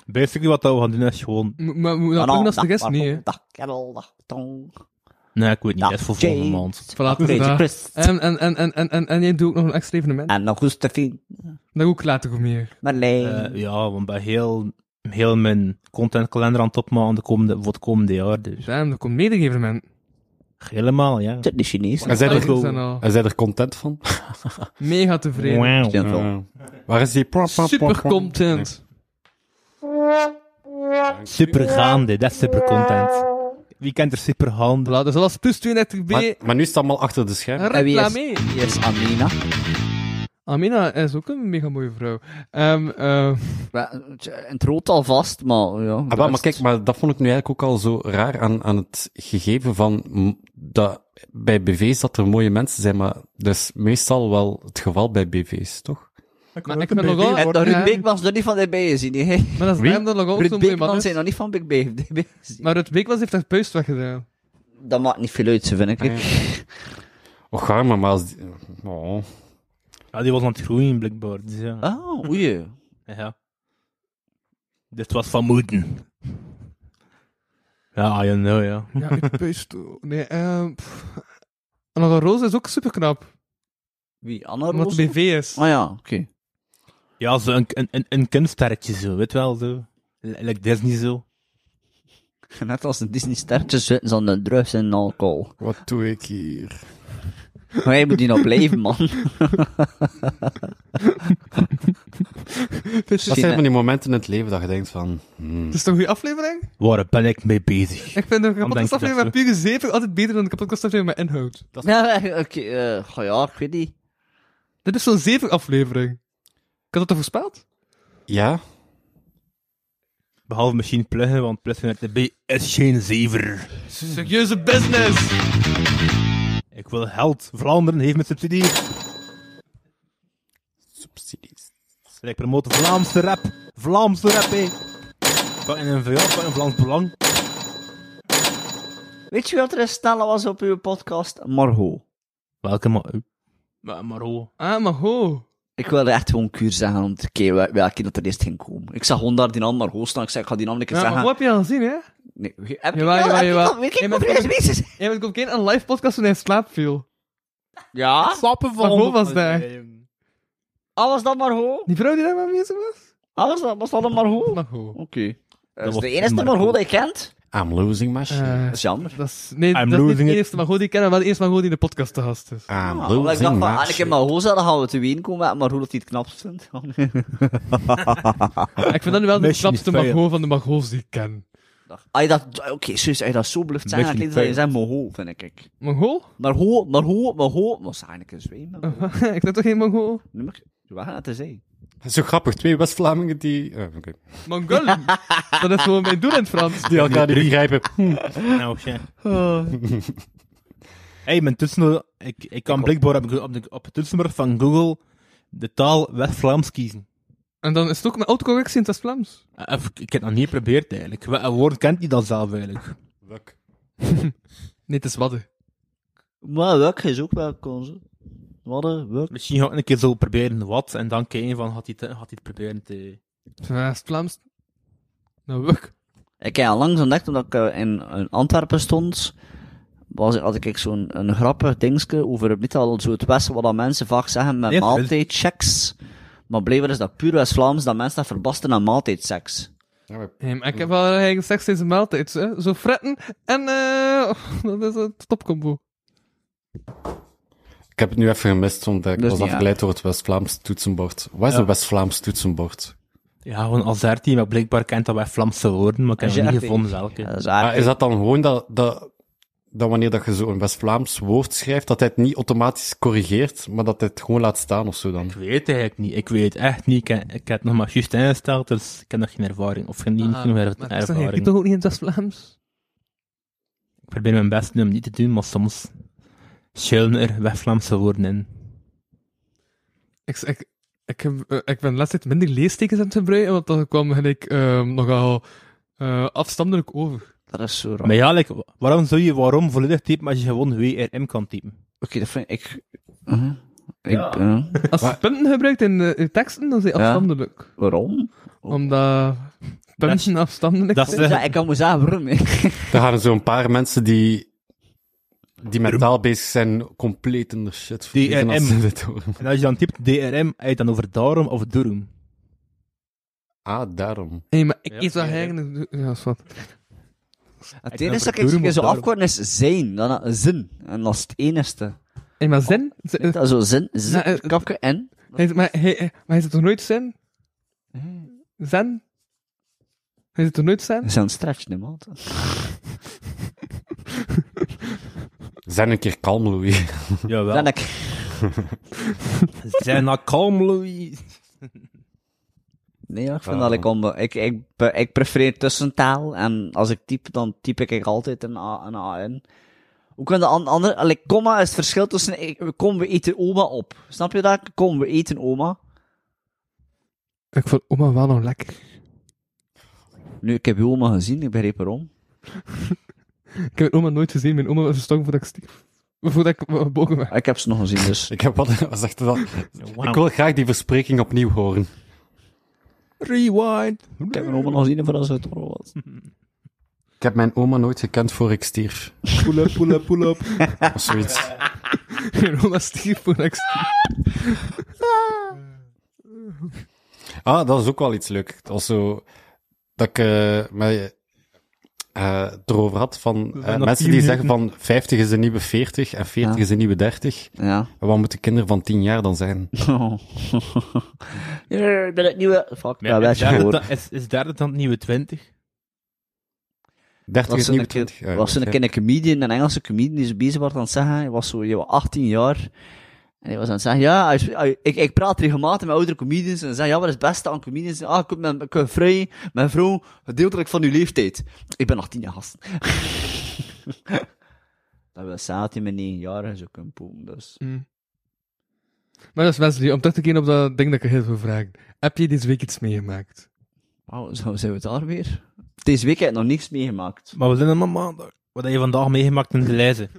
Basically wat dat we gaan doen is gewoon... M- Maar Nou, moet dat doen als de rest niet, hè? Da, kerel, da, tong. Nee, ik weet niet, Ja, dat is voor volgende James. maand. Voilà, Beetje inderdaad. Christ. En, en, en, en, en, en, en jij doet ook nog een extra evenement. En nog Josephine. Daar ook later over meer. Eh, Mm-hmm. Marleen. ja, want bij heel, heel mijn contentkalender aan het opmaken de komende, voor het komende jaar. Dus Damn, er komt meer een evenement. helemaal, ja. Zit de Chinees. En zijn Alles er, is dan al en zijn er content van? mega tevreden. Wauw. Zin wel. Eh, waar is die... Super content. Super gaande, dat is super content. Wie kent er super gaande? Voilà, dus dat was plus 32b. Maar, maar nu is het allemaal achter de schermen. En wie is- Reclame. Hier is Amina. Amina is ook een mega mooie vrouw. Ehm eh, Maar, eh, In het rood alvast, maar ja. Ah, wel, maar kijk, maar dat vond ik nu eigenlijk ook al zo raar aan, aan het gegeven van m, dat bij BV's dat er mooie mensen zijn, maar dat is meestal wel het geval bij BV's, toch? maar ik ben nog wel... En dat Ruud Ja, Beekmans er niet van dichtbij is, hè, hè? Maar dat is Wie? daarom dat nog altijd Ruud zo'n mooie man Beekmans is. zijn nog niet van Big Bay. Maar Ruud Beekmans heeft haar puist weggedaan. Dat maakt niet veel uit, ze vind ik. Ah, hè. Och, arme, maar als die... Oh. Ja, die was aan het groeien, blijkbaar. Dus ja. Ah, oei. ja. Dit was van moeten. Ja, I know, ja. Ja, ik puist... Nee, ehm... pff. Anna Roos is ook super knap. Wie? Anna Omdat Roos? het BV is. Ah ja, oké. Ja, zo een, een, een, een kunststerretje zo, weet wel, zo. L- Like Disney zo. Net als een Disney-sterretjes zitten ze aan de drugs en alcohol. Wat doe ik hier? Maar jij moet die nog blijven, man. Dat zijn van die momenten in het leven dat je denkt van... hmm, Het is toch een goede aflevering? Waar ben ik mee bezig? Ik vind de denk je podcastaflevering met dat pure zeven altijd beter dan de podcastaflevering met inhoud. Ja, oké. eh, goh, ja, ik weet niet. Dit is zo'n zeven aflevering. Ik had dat al voorspeld? Ja? Behalve misschien pluggen, want pluggen met de B is geen zever. Serieuze business! Ik wil held. Vlaanderen heeft met subsidie. Subsidies. Ik promote Vlaamse rap. Vlaamse rap, hé. Van in een VL, van een Vlaams Belang. Weet je wat er snel was op uw podcast? Margot. Welke maar... Maar, maar hoe? Ah, maar ho. Ik wilde echt gewoon kuur zeggen om te kijken wel- welke dat er eerst ging komen. Ik zag gewoon daar die naam Margot staan. Ik zei, ik ga die naam een keer Ja, maar zeggen. hoe heb je al gezien, hè? Nee, heb ik heb Jawel, jawel, heb ik jawel. al- weet ik Jij nog bent- niet eens wie ze- Jij bent ook geen een live podcast toen hij in slaap viel. Ja? Sappen Maar hoe was daar? Alles dan Ah, Margot? Die vrouw die daar maar aanwezig was? Alles dan, was dat dan Margot? Oké. Maar ho. Dat is was de enige Margot. Margot die je kent. I'm losing my shit. Eh, Dat is jammer. dat is, nee, I'm dat is niet losing de it. eerste maar goed, die kennen wel de eerste maar goed die in de podcast te gast is. I'm Ah, losing omdat ik dacht van, my ah, ik shit. heb Margot zeggen, dan gaan we te ween komen met Margot dat hij het knapst vindt. ik vind dat nu wel de Mesje knapste niet fijn. Mago van de Mago's die ik ken. Als je dat, oké, zus, als je dat zo bluft zijn, dan Beetje klinkt dat je fijn. zegt Margot, vind ik. ik. Mago? Margot, Margot, Margot. Maar zijn ik een zweem. Oh. man. ik ben toch geen Mago? Nu mag ik- Wat gaat het zijn? Zo grappig, twee West-Vlamingen die... eh, oké. Mongol? dat is gewoon mijn doel in het Frans. Die elkaar niet Oh. begrijpen. Hm. Nou, shit. hey, mijn toetsen... Ik, ik kan blijkbaar op, op, de, op het toetsenbord van Google de taal West-Vlaams kiezen. En dan is het ook een autocorrectie in het West-Vlaams. Eh, of- ik heb het nog niet geprobeerd, eigenlijk. Wel, Een woord kent hij dan zelf, eigenlijk. Wuk. Nee, het is Wadden. Maar welk is ook wel kans. Wat een welk. Misschien ga ik een keer zo proberen wat, en dan kijken van, had hij het, had hij het proberen te... West-Vlaams. Nou, wuk. Ik heb langs ontdekt, omdat ik eh, in, in Antwerpen stond, was, had ik zo'n een grappig dingetje over het, niet al zo het Westen, wat dat mensen vaak zeggen met Nee, dat is- maaltijdchecks. Maar blijkbaar is dat puur West-Vlaams dat mensen dat verbasten aan maaltijdseks. Ja, maar Hey, maar ik heb wel eigenlijk seks deze maaltijd. Hè? Zo fretten en eh dat is een topcombo. Ik heb het nu even gemist, want ik Dat is was niet afgeleid door het West-Vlaams toetsenbord. Wat is een West-Vlaams toetsenbord? Ja, gewoon Azerti, maar blijkbaar kent dat West-Vlaamse woorden, maar ik heb nog niet Azerti. gevonden welke. Ja, dat is Maar Ah, is eigenlijk... dat dan gewoon dat, dat, dat wanneer dat je zo'n West-Vlaams woord schrijft, dat hij het niet automatisch corrigeert, maar dat hij het gewoon laat staan of zo dan? Ik weet eigenlijk niet. Ik weet echt niet. Ik, heb- ik heb het nog maar juist ingesteld, dus ik heb nog geen ervaring. Of geen, niet genoeg er- Ah, maar zeg, ik ervaring. toch ook niet in het West-Vlaams? Ik probeer mijn best om niet te doen, maar soms schuilen er West-Vlaamse woorden in. Ik, ik, ik, heb, eh, ik ben laatst tijd minder leestekens aan het gebruiken, want dat kwam gelijk ehm, nogal eh afstandelijk over. Dat is zo raar. Maar ja, like, waarom zou je waarom volledig typen als je gewoon WRM kan typen? Oké, dat vind ik... Mhm. ik Ja. eh, Als je punten gebruikt in eh, je teksten, dan zijn Ja. afstandelijk. waarom? Omdat punten afstandelijk Dat zijn. is- Ja, ik kan me zeggen waarom. hè. Er gaan zo'n paar mensen die, die mentaal bezig zijn, compleet in de shit verliezen als DRM. ze dit horen. En als je dan typt DRM, heb je dan over daarom of doerum? Ah, daarom. Nee, maar ik Ja, eet dat ja, ja. eigenlijk... Ja, is wat. Het Ik enige dat ben ik een keer zo daarom. afkort is zijn. Dan eh, zin. En dat is het enigste. Hey, maar Oh, zin... zin- Dat is zo zin, zin, Nou, eh, kakken en... hij zegt, maar, hij, hij- maar hij zit toch nooit zin? Hmm. Zen? Hij zit toch nooit zen? Dat is een stretch, nee, man. Zijn een keer kalm, Louis. Jawel. Dan ik... Zijn nou kalm, Louis. Nee, ja, ik vind Waarom? dat ik onbe... Ik, ik, be- ik prefereer tussentaal. En als ik typ, dan typ ik altijd een A, een A in. Ook in de an- andere... Allee, komma is het verschil tussen... Ik, kom, we eten oma op. Snap je dat? Kom, we eten oma. Ik vond oma wel nog lekker. Nu, ik heb je oma gezien, ik begreep waarom. Ik heb mijn oma nooit gezien. Mijn oma was gestonken voordat ik stierf. Voordat ik gebogen werd. Ik heb ze nog gezien, dus... Ik heb wat, wat zegt dat? Ik wil graag die verspreking opnieuw horen. Rewind. ik heb mijn oma nog gezien voordat ze het horen was. Ik heb mijn oma nooit gekend voor ik stierf. Pull up, pull up, pull up. Of zoiets. Mijn oma stierf voordat ik stierf. Ah, dat is ook wel iets leuk. Dat was zo... Dat ik eh, mij eh, erover had van... eh, nog mensen tien die zeggen van 50 is de nieuwe 40 en 40 Ja. is de nieuwe 30. Ja. En wat moeten kinderen van 10 jaar dan zijn? ja, ik ben het nieuwe... Fuck, dat Ja, werd is, je daar het gehoord. dan, is, is daar het dan het nieuwe 20? 30 was is zo'n nieuwe keer- 20. Ja, was zo'n ja. keer een comedian, een Engelse comedian, die zo bezig was aan het zeggen, hij was zo, je was 18 jaar, en hij was aan het zeggen, ja, hij is- hij- ik, ik praat regelmatig met oudere comedians, en ze zeggen, ja, wat is het beste aan comedians? Ah, ik ben, ik ben vrij, mijn vrouw, gedeeltelijk van uw leeftijd. Ik ben 18 jaar gast. dat wil zeggen dat hij met 9 jaar zo kunnen poepen, dus. Maar dat is Wesley. Om terug te keren op dat ding dat ik er heel veel vraag. Heb je deze week iets meegemaakt? Wauw, zo zijn we daar weer. Deze week heb ik nog niks meegemaakt. Maar we zijn allemaal maandag. Wat heb je vandaag meegemaakt in de lijzen?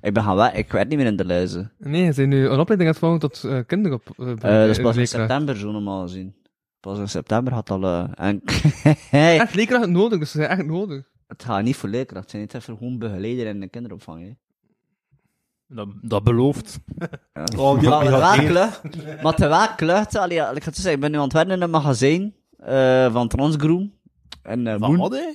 Ik ben gaan weg, ik werd niet meer in de luizen. Nee, ze zijn nu een opleiding aan het volgen tot eh, kinderopvang. kinderop... Eh, dat is pas in september zo normaal gezien. Pas in september had al... eh, en Echt leerkracht nodig, dus ze zijn echt nodig. het gaat niet voor leerkracht zijn, het is voor gewoon begeleider en de kinderopvang. Hè. Dat, dat belooft. Ja. Oh, maar, die te had wel hier. klucht- maar te wel klucht, allee, ja, ik ga het zo zeggen, ik ben nu aan het werken in een magazijn eh, van Transgroom. En eh Van Moen. wat, hè?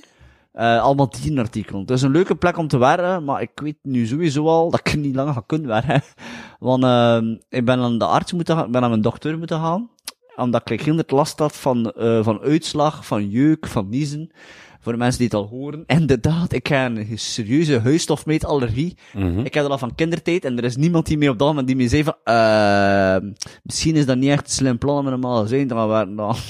Eh, allemaal tienerartikelen. Het is een leuke plek om te werken, maar ik weet nu sowieso al dat ik er niet langer ga kunnen werken. Want ehm, ik ben aan de arts moeten gaan, ik ben aan mijn dokter moeten gaan. Omdat ik heel last had van, eh, van uitslag, van jeuk, van niezen. Voor de mensen die het al horen. Inderdaad, ik heb een serieuze huisstofmeetallergie. Mhm. Ik heb dat al van kindertijd en er is niemand die mee op dat moment die me zei van, ehm, misschien is dat niet echt een slim plan om in een magazijn te gaan werken dan.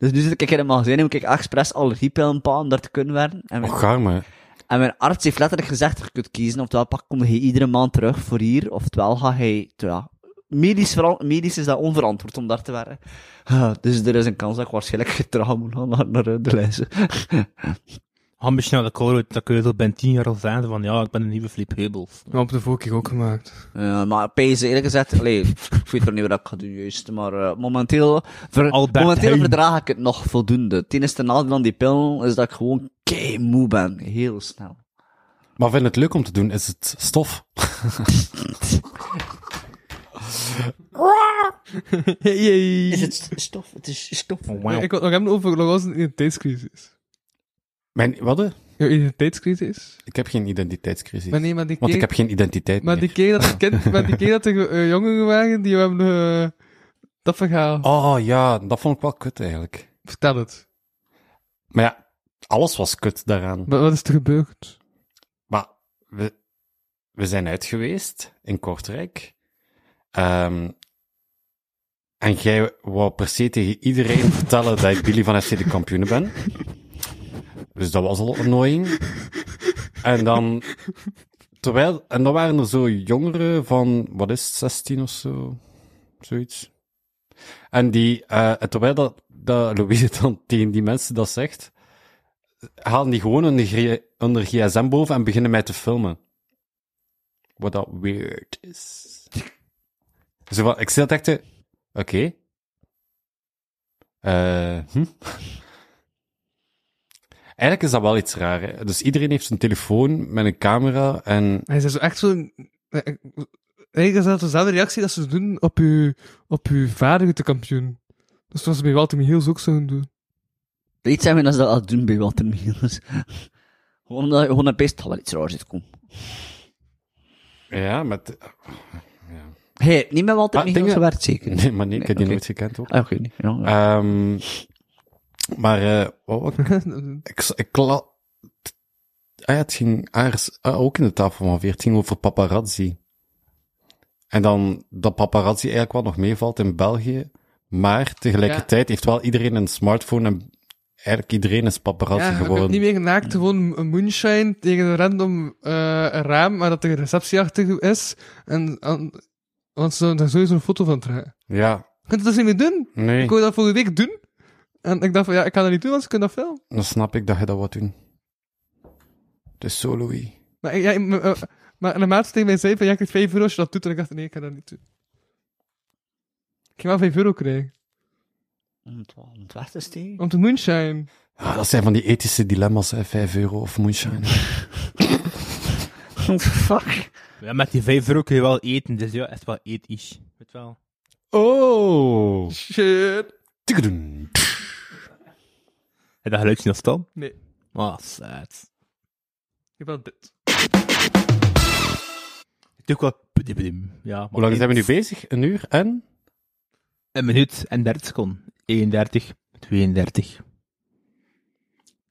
Dus nu zit ik in een magazijn en moet ik expres allergiepillen pakken om daar te kunnen werken. En mijn, Och, arme. en mijn arts heeft letterlijk gezegd, je kunt kiezen, oftewel pak, kom je iedere maand terug voor hier, oftewel ga hij, ja, medisch, veran- medisch is dat onverantwoord om daar te werken. Ah, dus er is een kans dat ik waarschijnlijk trouw moet gaan naar, naar de lijst. Ga een beetje naar de call uit, dat kun je zo bij 10 jaar al zijn van ja, ik ben een nieuwe Flip Heubels. Maar op de vorige keer ook gemaakt. Ja, Eh, maar Pees, eerlijk gezegd, allee, ik weet nog niet wat ik ga doen juist, maar eh, momenteel, ver- Albert momenteel Heijn. verdraag ik het nog voldoende. Het enige nadeel aan die pil is dat ik gewoon kei moe ben, heel snel. Maar vind je het leuk om te doen? Is het stof? Is het stof? Het is stof. Oh, Wauw. Ik wil het nog hebben over Logos een identiteitscrisis. Mijn, wat? hè? Jouw identiteitscrisis? Ik heb geen identiteitscrisis. Maar nee, maar die keer... Want ik heb geen identiteit Maar meer. die keer dat de, kind, maar die keer dat de eh, jongeren waren, die hebben eh, dat verhaal. Oh ja, dat vond ik wel kut eigenlijk. Vertel het. Maar ja, alles was kut daaraan. Wat, wat is er gebeurd? Maar we, we zijn uit geweest in Kortrijk. Ehm, en jij wou per se tegen iedereen vertellen dat ik Billy van FC de kampioenen ben. Dus dat was al annoying. En dan, terwijl, en dan waren er zo jongeren van, wat is het, 16 of zo? Zoiets. En die, eh, en terwijl dat, dat Louise dan tegen die mensen dat zegt, halen die gewoon onder, G- onder gsm boven en beginnen mij te filmen. Wat dat weird is. Zo van, ik zit echt te... Oké. Eh hm? Eigenlijk is dat wel iets raar. Hè? Dus iedereen heeft zijn telefoon met een camera en... Hij is zo echt zo'n... eh, eh, Eigenlijk is dat dezelfde reactie dat ze doen op uw, op uw kampioen. Dus zoals ze bij Walter Michiels ook zouden doen. Iets zijn we dat ze dat al doen bij Walter Michiels. gewoon omdat je gewoon naar best wel iets raars zit komen. Ja, met... Hé, hey, niet met Walter Ah, Michiels dingen- gewerkt zeker? Nee, maar nee, ik heb die oké. nooit gekend ook. Ah, oké, niet. Ja, ja. Ehm, maar, eh, wat wou ik ik, ik la... Ah ja, het ging aars, ah, ook in de tafel van 14 over paparazzi. En dan dat paparazzi eigenlijk wel nog meevalt in België. Maar tegelijkertijd heeft wel iedereen een smartphone en eigenlijk iedereen is paparazzi Ja, ik heb geworden. niet meer genaakt, gewoon een moonshine tegen een random eh, raam, maar dat er een receptie achter is. En, en- want ze daar sowieso een foto van trekken. Ja, Je kunt het dus niet meer doen. nee, Ik wou dat vorige week doen. En ik dacht van, ja, ik kan dat niet doen, want ze kunnen dat filmen. dan snap ik dat je dat wat doen. Dus zo, Louis. Maar, ik- ja, ik- maar, eh, maar de maat tegen mij zei van, ja, ik krijg 5 euro als je dat doet. En ik dacht, nee, ik kan dat niet doen. Ik ging wel 5 euro krijgen. Om het- om het weg te steken. Om te moonshine. Ah, dat zijn van die ethische dilemma's, hè. 5 euro of moonshine. What the fuck? Ja, met die vijf euro kun je wel eten, dus ja, echt wel ethisch. Weet wel. Oh! Shit. Tikkedoen. Heb je dat geluidje nog staan? Nee. Ah, sad. Ik wil dit. Ik doe ook wel... pudibidim. Ja, maar Hoe lang één- zijn we nu bezig? Een uur en? Een minuut en 30 seconden. 31, 32. Kijk,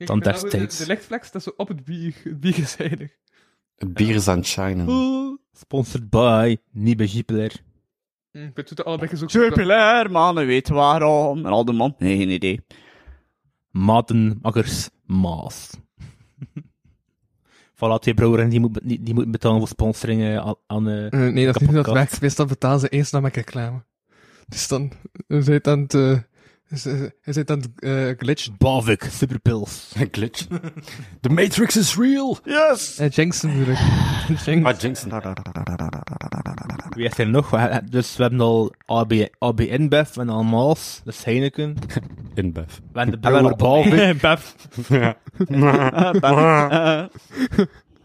Dan en daar nou, steeds. De, de lichtflex, dat is zo op het bier. Het bier is heilig. Het bier is aan het shinen. Sponsored by Nieuwe Jupiler. Hm, Ik doe het allebei eens ook. Jupiler, mannen weten waarom. En al de man, nee, geen idee. Matenmakkers Maas. voilà, twee brouweren die moeten die, die moeten betalen voor sponsoring eh, aan... aan eh, Eh, nee, dat is niet hoe dat Kapotkast. werkt. Meestal betalen ze eerst dan met reclame. Dus dan eh, zit aan het... eh, is- is- Is het aan het eh, glitchen? Bavik, Superpils. Een glitch. The Matrix is real! Yes! Eh, Jensen bedoel ik. Jensen. Ah, Jinxen. Wie heeft er nog? We hebben- Dus we hebben al AB, AB InBev, we hebben al Maas, dat is Heineken. In Bef. We hebben de brouwer Bavik.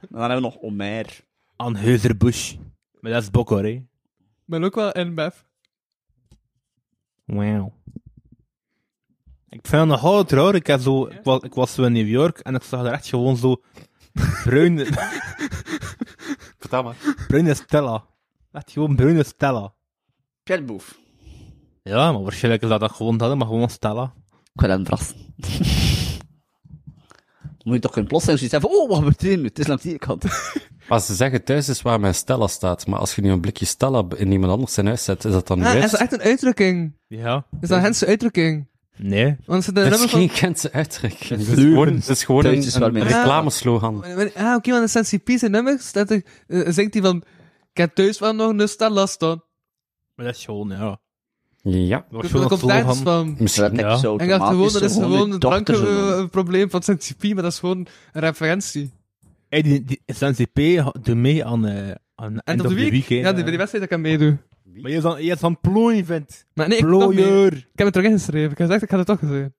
Dan hebben we nog Omer. Aan Heuserbusch. Maar dat is Bokker, hè. Ik ben ook wel NBF. Wauw. Ik vind het nogal het raar. Ik, had zo, ik, was, ik was zo in New York en ik zag daar echt gewoon zo bruine, Vertel maar. bruine Stella. Echt gewoon bruine Stella. Pierboef. Ja, maar waarschijnlijk is dat, dat gewoon dat, maar gewoon Stella. Ik wil hem verrassen. Dan moet je toch geen plotseling zoiets hebben. Oh, wat betekent nu? Het is langs die kant. Als ze zeggen thuis is waar mijn Stella staat, maar als je nu een blikje Stella in iemand anders zijn huis zet, is dat dan Ah, is juist? dat echt een uitdrukking? Ja. Is dat een Hense uitdrukking? Nee. Want ze de Dat is nummer van... geen Gentse uitdrukking. Het is leugen. gewoon, het is gewoon Thuis is een, waar een mijn- reclameslogan. Ah, oké, want in Sensi zijn nummer staat er, eh, zingt hij van... Ik heb thuis wel nog een Stella staan. Maar dat is gewoon, ja. Ja, Dat was Er gewoon komt daar dus van... Dat misschien. heb ik zo En ik dacht gewoon, automatisch dat is zo gewoon eh, je een dochter zo noemen. drankenprobleem van Sensi maar dat is gewoon een referentie. Hey, die, die SNCP doet mee aan, eh aan En End op of de the week? Week, hè. ja, die, bij die wedstrijd dat ik aan meedoe. Maar je is dan, je is dan plooien, vent. Maar nee, ik, dacht mee. Plooier. ik heb het terug ingeschreven. Ik heb gezegd, ik ga het toch zijn.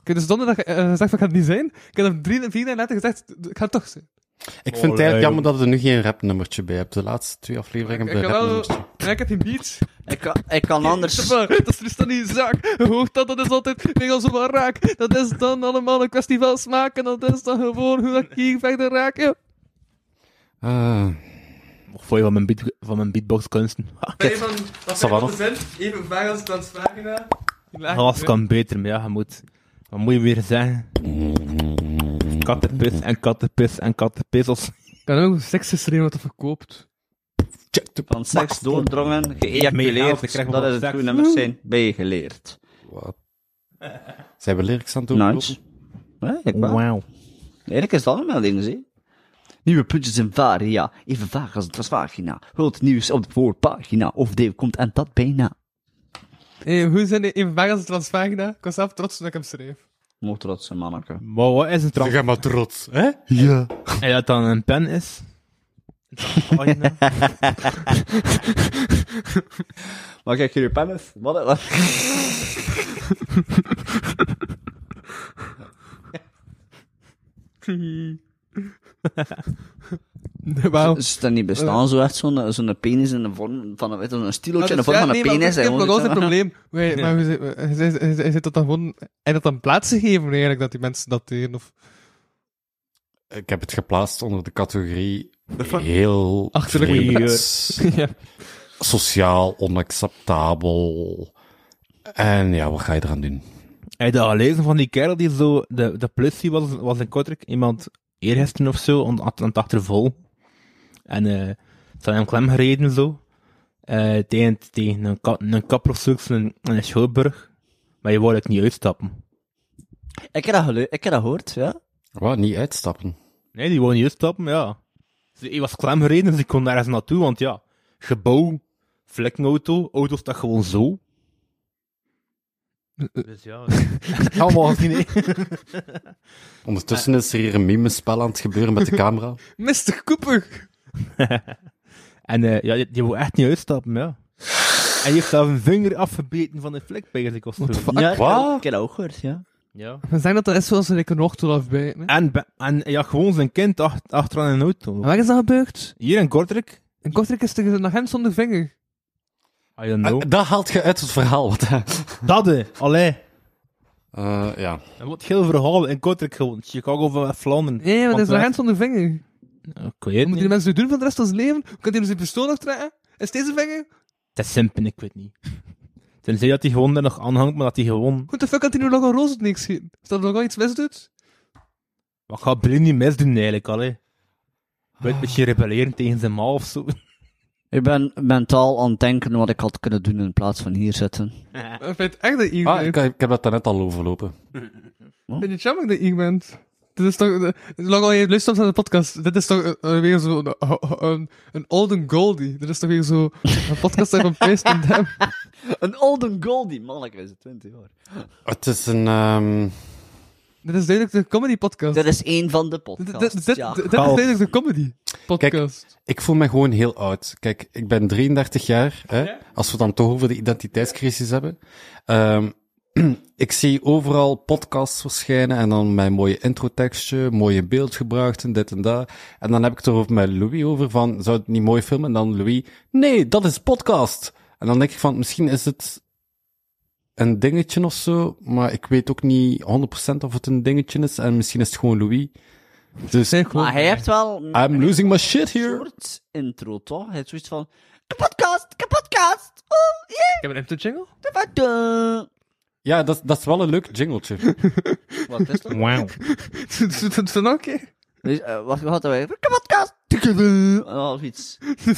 Ik heb dus donderdag eh, gezegd, van, ik ga het niet zijn. Ik heb op drie en vier dagen later gezegd, ik ga het toch zijn. Ik vind het Oh, eigenlijk jammer dat er nu geen rapnummertje bij hebt. De laatste twee afleveringen Ik hebben heb we een wel... rapnummertje. Ja, ik heb geen beats. Ik kan, ik kan anders... Maar Dat is dus dan niet zaak. Je hoort dat, dat is altijd weer als een raak. Dat is dan allemaal een kwestie van smaak. En dat is dan gewoon hoe dat ik hier verder raak. Ja. Ah, Of voor je van mijn, beat, van mijn beatboxkunsten. Ha, Nee, van, dat Zal wel nog. zijn even vaag als het aan het vragen is. Die laag- Alles kan beter, maar ja, je moet... Wat moet je weer zeggen? Kattenpis en kattenpis en kattenpis. Als... Ik kan ook seks geschreven wat dat verkoopt. check the Van seks doordrongen, Meehelpen, geëjaculeerd. krijg je Dat wel is het seks. goede nummer zijn. Ben je geleerd. Wat? Zijn we lyrics aan het doen? Nice. Ja, ik wel. Wauw. Eigenlijk is dat allemaal dingen, zie. Nieuwe puntjes in varia, even vaag als het was vagina. Hult nieuws op de voorpagina, of Dave komt en dat bijna. Hey, hoe zijn die even vaag als het aan het vragen is? Ik was zelf trots toen ik hem schreef. Mocht dat zijn, manneke. Maar wat is een trans? Zeg maar trots, hè? En dat dan een pen is? Oh, Een Maar kijk, hier je pen is. Wat, wat? Wauw. Ze staan niet bestaan, zo echt zo'n eh, zo'n penis in de vorm van een, weet je, zo'n stilootje in de vorm van een nee, maar penis. Ik en heb nog gewoon altijd een iets aan- probleem. Wij- Maar hoe zit- hij zit- hij zit- hij zit dat dan gewoon... En dat dan plaats gegeven eigenlijk, dat die mensen dat deden? Of... Ik heb het geplaatst onder de categorie heel Achterlijk vreemd, Ja. sociaal onacceptabel. En ja, wat ga je eraan doen? Heb je dat gelezen van die kerel die zo, de, de plussie was, was in Kortrijk, iemand eergisteren of zo, aan aan het achtervol. En eh ze hadden hem klem gereden zo. Eh, tegen, tegen een, ka, een kapper of zo, in, in een schouwburg. Maar je wou het niet uitstappen. Ik heb dat gelu- ik heb dat gehoord, ja. Wat, niet uitstappen. Nee, die wou niet uitstappen, ja. Dus hij was klem gereden, dus ik kon nergens naartoe, want ja, gebouw, vlekkenauto, auto staat gewoon zo. Dus ja, Allemaal nee. Ondertussen is er hier een mimespel aan het gebeuren met de camera. Mr. Cooper! En eh, ja, die, die wou echt niet uitstappen, ja. En die heeft zelf een vinger afgebeten van de vlek bij zich of zo. ja ik, heb dat- Wat? ik heb dat ook gehoord, ja. Ja. We zeggen dat dat is zoals ik een ochtend afbijt. hè. En, be- en ja, gewoon zijn kind ach- achteraan in een auto. En Waar is dat gebeurd? Hier in Kortrijk. In Kortrijk is er een agent zonder vinger. I don't know. Eh, Dat haalt je uit het verhaal. Wat, hè? dat hè. Allee. Eh, ja. En wat heel verhaal in Kortrijk gewoon. Chicago van Vlaanderen. Nee, maar dat Want is een wij- agent zonder vinger. Ik weet het Wat moeten die niet. mensen nu doen van de rest van hun leven? Hoe kan die zijn pistool aftrekken? Is deze vinger? Het is simpen, ik weet niet. Tenzij dat hij gewoon er nog aanhangt, maar dat hij gewoon... Hoe de fuck had hij nu nog een roze niks schieten? Is dat nog wel iets misdoet? Wat gaat Blin niet misdoen eigenlijk, allee. Weet een beetje rebelleren tegen zijn ma of zo. Ik ben mentaal aan het denken wat ik had kunnen doen in plaats van hier zitten. Ik vind echt dat je Ah, ah, ik, ik heb dat daarnet al overlopen. vind het jammer dat je bent. Dit is toch... eh, Zolang al je luistert naar de podcast, dit is toch eh, eh, weer zo een, een, een Olden Goldie. Dit is toch weer zo een podcast van Pace and Them. Een Olden Goldie, manneke, is het 20 jaar. Het is een... ehm, Dit is duidelijk de comedy podcast. Dat is één van de Dit, dit, podcasts, dit, dit ja. is duidelijk de comedy podcast. ik voel me gewoon heel oud. Kijk, ik ben 33 jaar. Hè, Als we het dan toch over de identiteitscrisis hebben. Ehm, ik zie overal podcasts verschijnen en dan mijn mooie introtekstje, mooie beeldgebruik en dit en dat. En dan heb ik het er over met Louis over van, zou het niet mooi filmen? En dan Louis, nee, dat is podcast. En dan denk ik van, misschien is het een dingetje of zo, maar ik weet ook niet 100% of het een dingetje is. En misschien is het gewoon Louis. Dus, Maar hij heeft wel een I'm losing my shit here. soort intro, toch? Hij heeft zoiets van... De podcast, de podcast, oh, yeah, Ik heb een empty jingle. de podcast. Ja, dat, dat is wel een leuk jingletje. Wat is dat? Wauw. Doe het dan ook, hè? Dus, eh, Wacht, wat hadden wij? De podcast, de- eh, of iets. Ik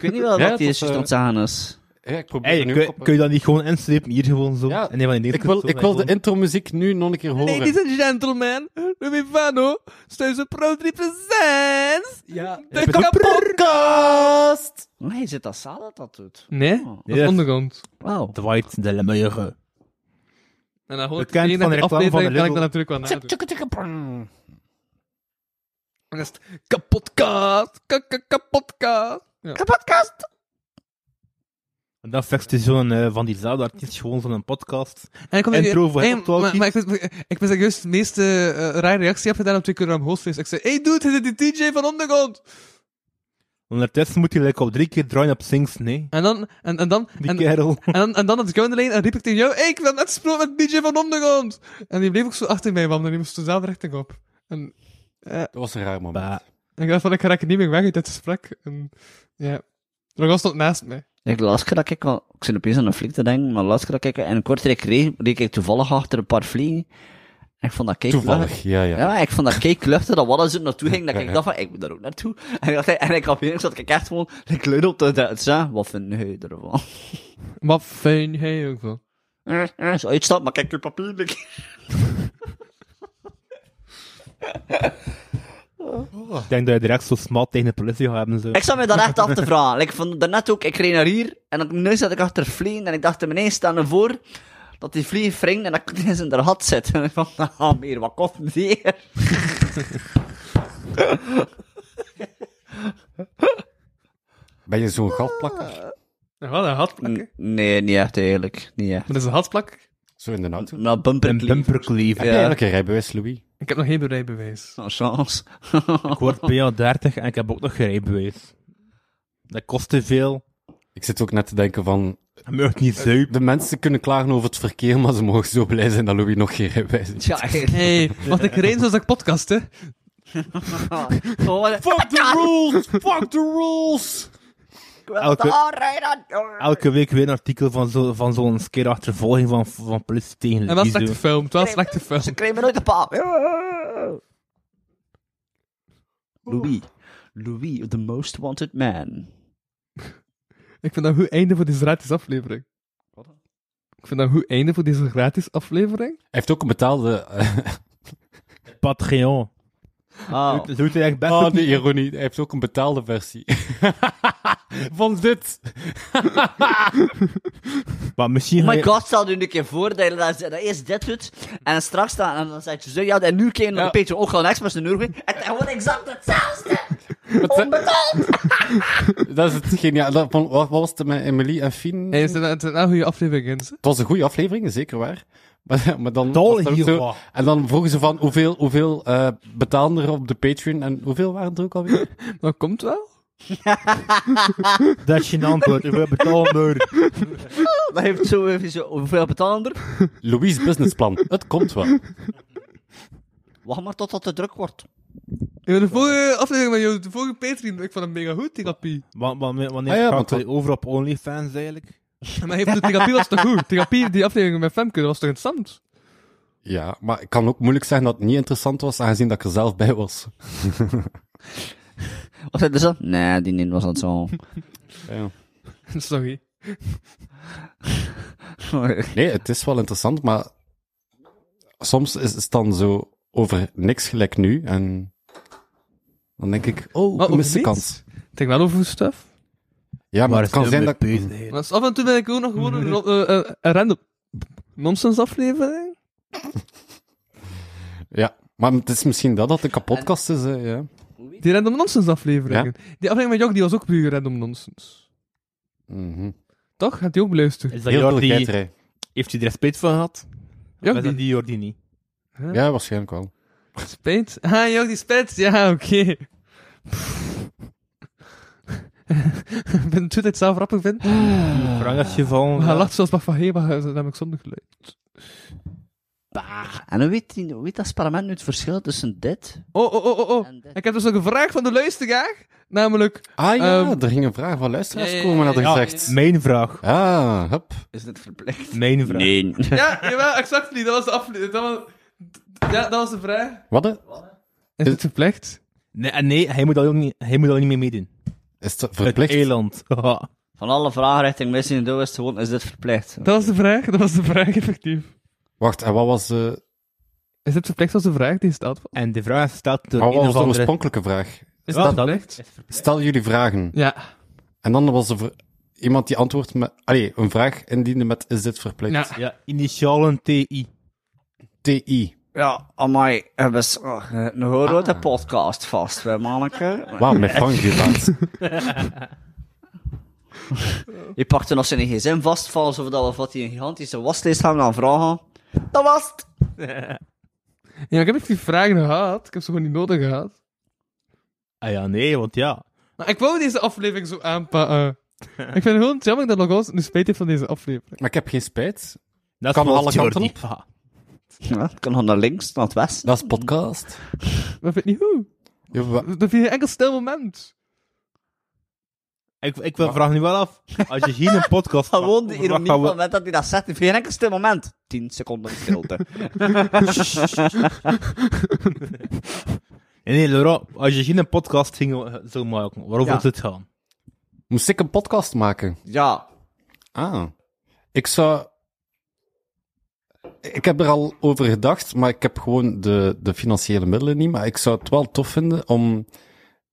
weet niet wel Ja, wat die dat is was, aan het zeggen is. Ja, ik probeer Hey, nu kun, ook op- kun je dat niet gewoon instrepen hier gewoon zo? Ja, En nee, van die ik wil, zo, ik wil de gewoon- intromuziek nu nog een keer horen. Ladies and gentlemen, Louis Vano, Steuze Pro 3 presents... ja. De kapot... Podcast! Nee, zit dat zaal dat dat doet? Nee, dat is Oh. Yes. ondergrond. Wauw. Dwight de Lemmeure. En dan hoor ik Bekend één van de die reclame van de aflevering, kan ik Lidl. dat natuurlijk wel nadoen. Dan is het kapotkaat, ka- ka- kapotkaat. Ja. En dan vext hij zo'n eh, van diezelfde artiest gewoon zo'n podcast. En ik kom Intro voor hey, Hip Talkies. maar, maar ik, ben- ik ben juist de meeste eh, rare reactie heb gedaan op Twitter aan hostface. Ik zei, hey dude, dit is de DJ van Ondergrond. Ondertussen moet hij like, al drie keer draaien op Sings, nee. En dan, en, en dan, Die en, kerel. En dan, en dan had ik jou in de lijn en riep ik tegen jou, hey, ik ben net gesproken met DJ van Ondergrond. En die bleef ook zo achter mij wandelen, die moest dezelfde richting op. En, Dat was een raar moment. Bah. en ik dacht van, ik raak niet meer weg uit dit gesprek. En ja, Rogan stond naast mij. Ik, de laatste keer dat ik, wel- ik zit opeens aan een flik te denken, maar de laatste keer dat ik in Kortrijk reed, reed ik toevallig achter een paar vliegen. En ik vond dat kijk Toevallig, ja, ja. Ja, ik vond dat kijk luchten dat wat ze naartoe ging, dat ik dacht van, ik moet daar ook naartoe. En ik, dacht, en ik had ineens dat ik echt gewoon, ik leun op de Duits, hè. Wat vind jij ervan? Wat fijn hij ook wel. Eh, eh, Zo uitstapt, maar kijk je papier niet. Ik denk dat je direct zo smal tegen de politie gaat hebben. Zo. Ik zat me daar echt af te vragen. Like, van daarnet ook, ik reed naar hier, en dan nu zat ik achter vliegen, en ik dacht, meneer, staan ervoor. dat die vlieg wringt en dat ik in zijn rat zit. En ik van, nou meer, wat kost het hier? Ben je zo'n gatplakker? Ja, wel een Mm. hatplak, hè. Maar Nee, niet echt eigenlijk. Niet echt. dat is een hatplak. Zo in de auto. Maar bumper Een bumperkleef. Heb je Ja. eigenlijk een rijbewijs, Louis? Ik heb nog geen rijbewijs. Sans chance. Ik word PA30 en ik heb ook nog geen rijbewijs. Dat kost te veel. Ik zit ook net te denken van... Je mag niet zuipen. De mensen kunnen klagen over het verkeer, maar ze mogen zo blij zijn dat Louis nog geen rijbewijs heeft. Tja, eigenlijk. Hé, hey, wat ik reed zoals ik podcast, hè. Oh, ik Fuck the rules! Fuck the rules! wil Elke- daar rijden. Oh. Elke week weer een artikel van zo'n van zo'n keer achtervolging van, van politie tegen En wel Louise. slecht gefilmd, wel slecht gefilmd. Ze kregen me nooit de paal. Louis. Louis, the most wanted man. Ik vind dat een goed einde voor deze gratis aflevering. Wat dan? Ik vind dat een goed einde voor deze gratis aflevering. Hij heeft ook een betaalde... eh, Patreon. Oh. Doet, doet hij echt best Ah, ook de niet. ironie. Hij heeft ook een betaalde versie. van dit. Maar misschien Oh ga my je- god, stel nu een keer voor dat je dat, dat eerst dit doet, en straks dan, en dan zegt je zo, ja, en nu kun je nog Ja. een beetje ook gaan express naar Uruguay, en dan wordt exact hetzelfde! Wat ze- Onbetaald! dat is het geniaal. Dat- van- Wat wat was het met Emily en Fien? Hey, is dat- het is een goede aflevering, hè? Het was een goede aflevering, zeker waar. Maar, maar dan, Dol was dat ook hier, zo- wat. en dan vroegen ze van hoeveel, hoeveel eh, betaalden er op de Patreon en hoeveel waren er ook alweer? Dat komt wel. Dat is je antwoord. Ik wil betalen door. Dat heeft zo even zo, hoeveel betalen er? Louise businessplan, het komt wel. Wacht maar totdat het druk wordt. In de vorige aflevering met jou, de vorige Patreon, ik vond hem mega goed, therapie. Wa- wa- wa- Wanneer Ah ja, gaat want dat- hij over op OnlyFans eigenlijk? Maar even de therapie was toch goed? Therapie, die aflevering met Femke, dat was toch interessant? Ja, maar ik kan ook moeilijk zeggen dat het niet interessant was, aangezien dat ik er zelf bij was. Was het dus dat? Nee, die niet was dat zo. Ja. Sorry. Nee, het is wel interessant, maar soms is het dan zo over niks gelijk nu en dan denk ik, oh, Wat, ik mis over niets? de kans. Ik denk wel over stuff. Ja, maar Waar het is kan de zijn dat... MP's? Maar af en toe ben ik ook nog gewoon een, ro- eh, eh, een random nonsens aflevering. Ja, maar het is misschien dat dat de kapotkast is, eh, ja. Die random nonsens afleveringen. Die aflevering met Jok, die was ook puur random nonsens. Mhm. Toch? Gaat die ook beluisteren? Is dat Heel veel Jordi, keiterij. heeft hij er spijt van gehad? Of Jok, is dat die die Jordi niet? Ja, waarschijnlijk wel. Spijt? Ah, joh, die spijt. Ja, oké. Ik ben doet het zelf rapper vindt. Frank is gevallen. Maar hij lacht zoals Bach van Heba, eh, dat heb ik zonder geluid. en hoe weet, die- hoe weet dat experiment nu het verschil tussen dit Oh, oh, oh, oh, oh. en dit? Ik heb dus nog een vraag van de luisteraar. Namelijk, Ah ja, Ehm, er ging een vraag van luisteraars ja, ja, komen, had ja, ik ja. gezegd. Mijn vraag. Ah, hup. Is dit verplicht? Mijn vraag. Nee. ja, jawel, exactly, dat was de aflevering. Dat was, ja, dat was de vraag. Wat? de- Is het verplicht? Nee, en nee, hij moet daar ook niet, hij moet daar ook niet mee meedoen. Is dat Het verplicht? eiland. Haha. Van alle vragen richting Missie in Doe is het gewoon, is dit verplicht? Dat was de vraag, dat was de vraag, effectief. Wacht, en wat was de, Is het verplicht was de vraag die staat van? en de vraag staat door wat een was of de andere... oorspronkelijke vraag? Is Ja, het dat- verplicht? Stel jullie vragen. Ja. En dan was er ver- iemand die antwoordt met... Allee, een vraag indiende met is dit verplicht? ja. Ja, initialen TI. TI. Ja, amai, we is oh, eh, een grote podcast vast, hè, manneke. Wauw, met Frank hiernaast. Je pakt er nog zijn gsm vast, van alsof dat of wat hij een gigantische waslijst gaan aan vragen. Dat was het! Ja, maar ik heb echt die vragen gehad. Ik heb ze gewoon niet nodig gehad. Ah ja, nee, want ja. Maar ik wou deze aflevering zo aanpakken. ik vind het gewoon jammer dat Logos nu spijt heeft van deze aflevering. Maar ik heb geen spijt. Dat Kan was alle kanten Jordi. Haha. Ja, het kan dan naar links, naar het westen. Dat is podcast. Dat vind ik niet goed. Ja, wa- Dat vind je enkel stil moment. Ik, ik wil vraag nu wel af, als je hier een podcast... Gewoon de over wat ironie gaan van we- het moment dat hij dat zegt, in geen enkel stil moment. 10 seconden stilte. Nee, nee, Laurent, als je hier een podcast ging, eh, zou maken, waarover Ja. zou het gaan? Moest ik een podcast maken? ja, Ah. Ik zou... Ik heb er al over gedacht, maar ik heb gewoon de, de financiële middelen niet. Maar ik zou het wel tof vinden om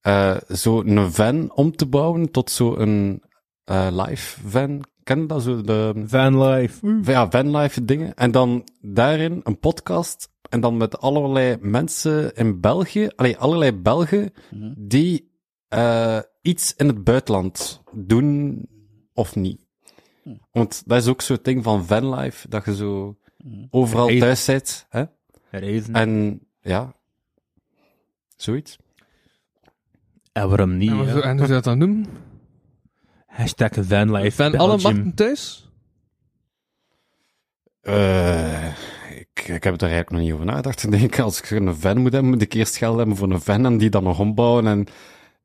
eh zo een van om te bouwen tot zo'n eh live van Ken je dat zo? De, Vanlife. Oeh. ja, vanlife dingen. En dan daarin een podcast. En dan met allerlei mensen in België. Allee, allerlei Belgen die eh, iets in het buitenland doen of niet. Want dat is ook zo'n ding van vanlife. Dat je zo overal Hey. thuis zit. Hè? Reizen. En, En ja, zoiets. waarom niet? En, wat hè? zo- en hoe zou je dat dan noemen? Hashtag vanlife. Van alle Belgium. machten thuis? Eh, ik, ik heb er eigenlijk nog niet over nagedacht. Ik denk, als ik een van moet hebben, moet ik eerst geld hebben voor een van en die dan nog ombouwen. En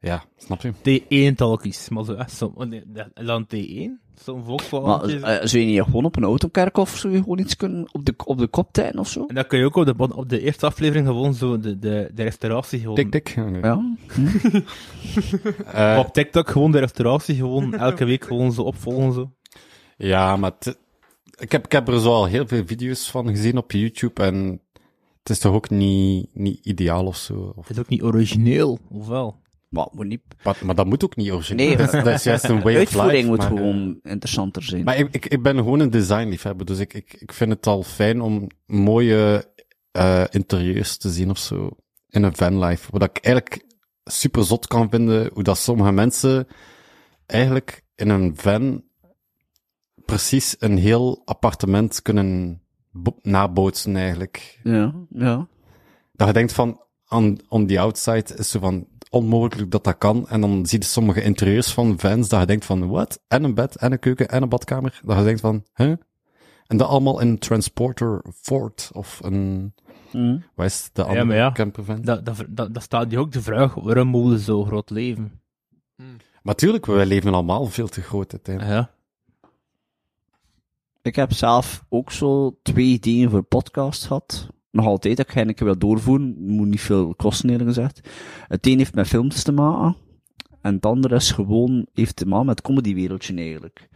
ja, snap je? T1 talkies. Maar zo echt zo. oh nee, dat- Dan T1? Zo'n Maar Volkswagen. eh, zou je niet gewoon op een autokerkhof zou je gewoon iets kunnen op de, op de kop tijden of zo? En dan kun je ook op de, bon- op de eerste aflevering gewoon zo de, de, de restauratie gewoon... Tik, tik. Nee. Ja. Eh, Op TikTok gewoon de restauratie gewoon elke week gewoon zo opvolgen zo. ja, maar het- ik, heb, ik heb er zo al heel veel video's van gezien op YouTube en het is toch ook niet, niet ideaal of zo. Of- Het is ook niet origineel, of wel? Maar moet niet. maar, maar dat moet ook niet origineel. Nee, dat, is- dat is juist een way of life. Uitvoering moet maar, eh, gewoon interessanter zijn. Maar ik, ik, ik ben gewoon een designliefhebber, dus ik, ik, ik vind het al fijn om mooie eh, interieurs te zien of zo in een vanlife. Wat ik eigenlijk super zot kan vinden, hoe dat sommige mensen eigenlijk in een van precies een heel appartement kunnen bo- nabootsen eigenlijk. Ja, ja. Dat je denkt van, on, on the outside is zo van onmogelijk dat dat kan. En dan zie je sommige interieurs van vans dat je denkt van, wat? En een bed, en een keuken, en een badkamer. Dat je denkt van, hè? En dat allemaal in een transporter Ford of een, Mm. wat is de maar andere ja. campervan? Dat, dat, dat, dat staat je ook de vraag, waarom moeten we zo groot leven? Maar tuurlijk, we leven allemaal veel te groot uiteindelijk. Ja. Ik heb zelf ook zo twee ideeën voor podcast gehad. Nog altijd, dat ik eigenlijk wil doorvoeren. Moet niet veel kosten eerlijk gezegd. Het een heeft met films te maken. En het andere is gewoon, heeft te maken met het comedywereldje eigenlijk.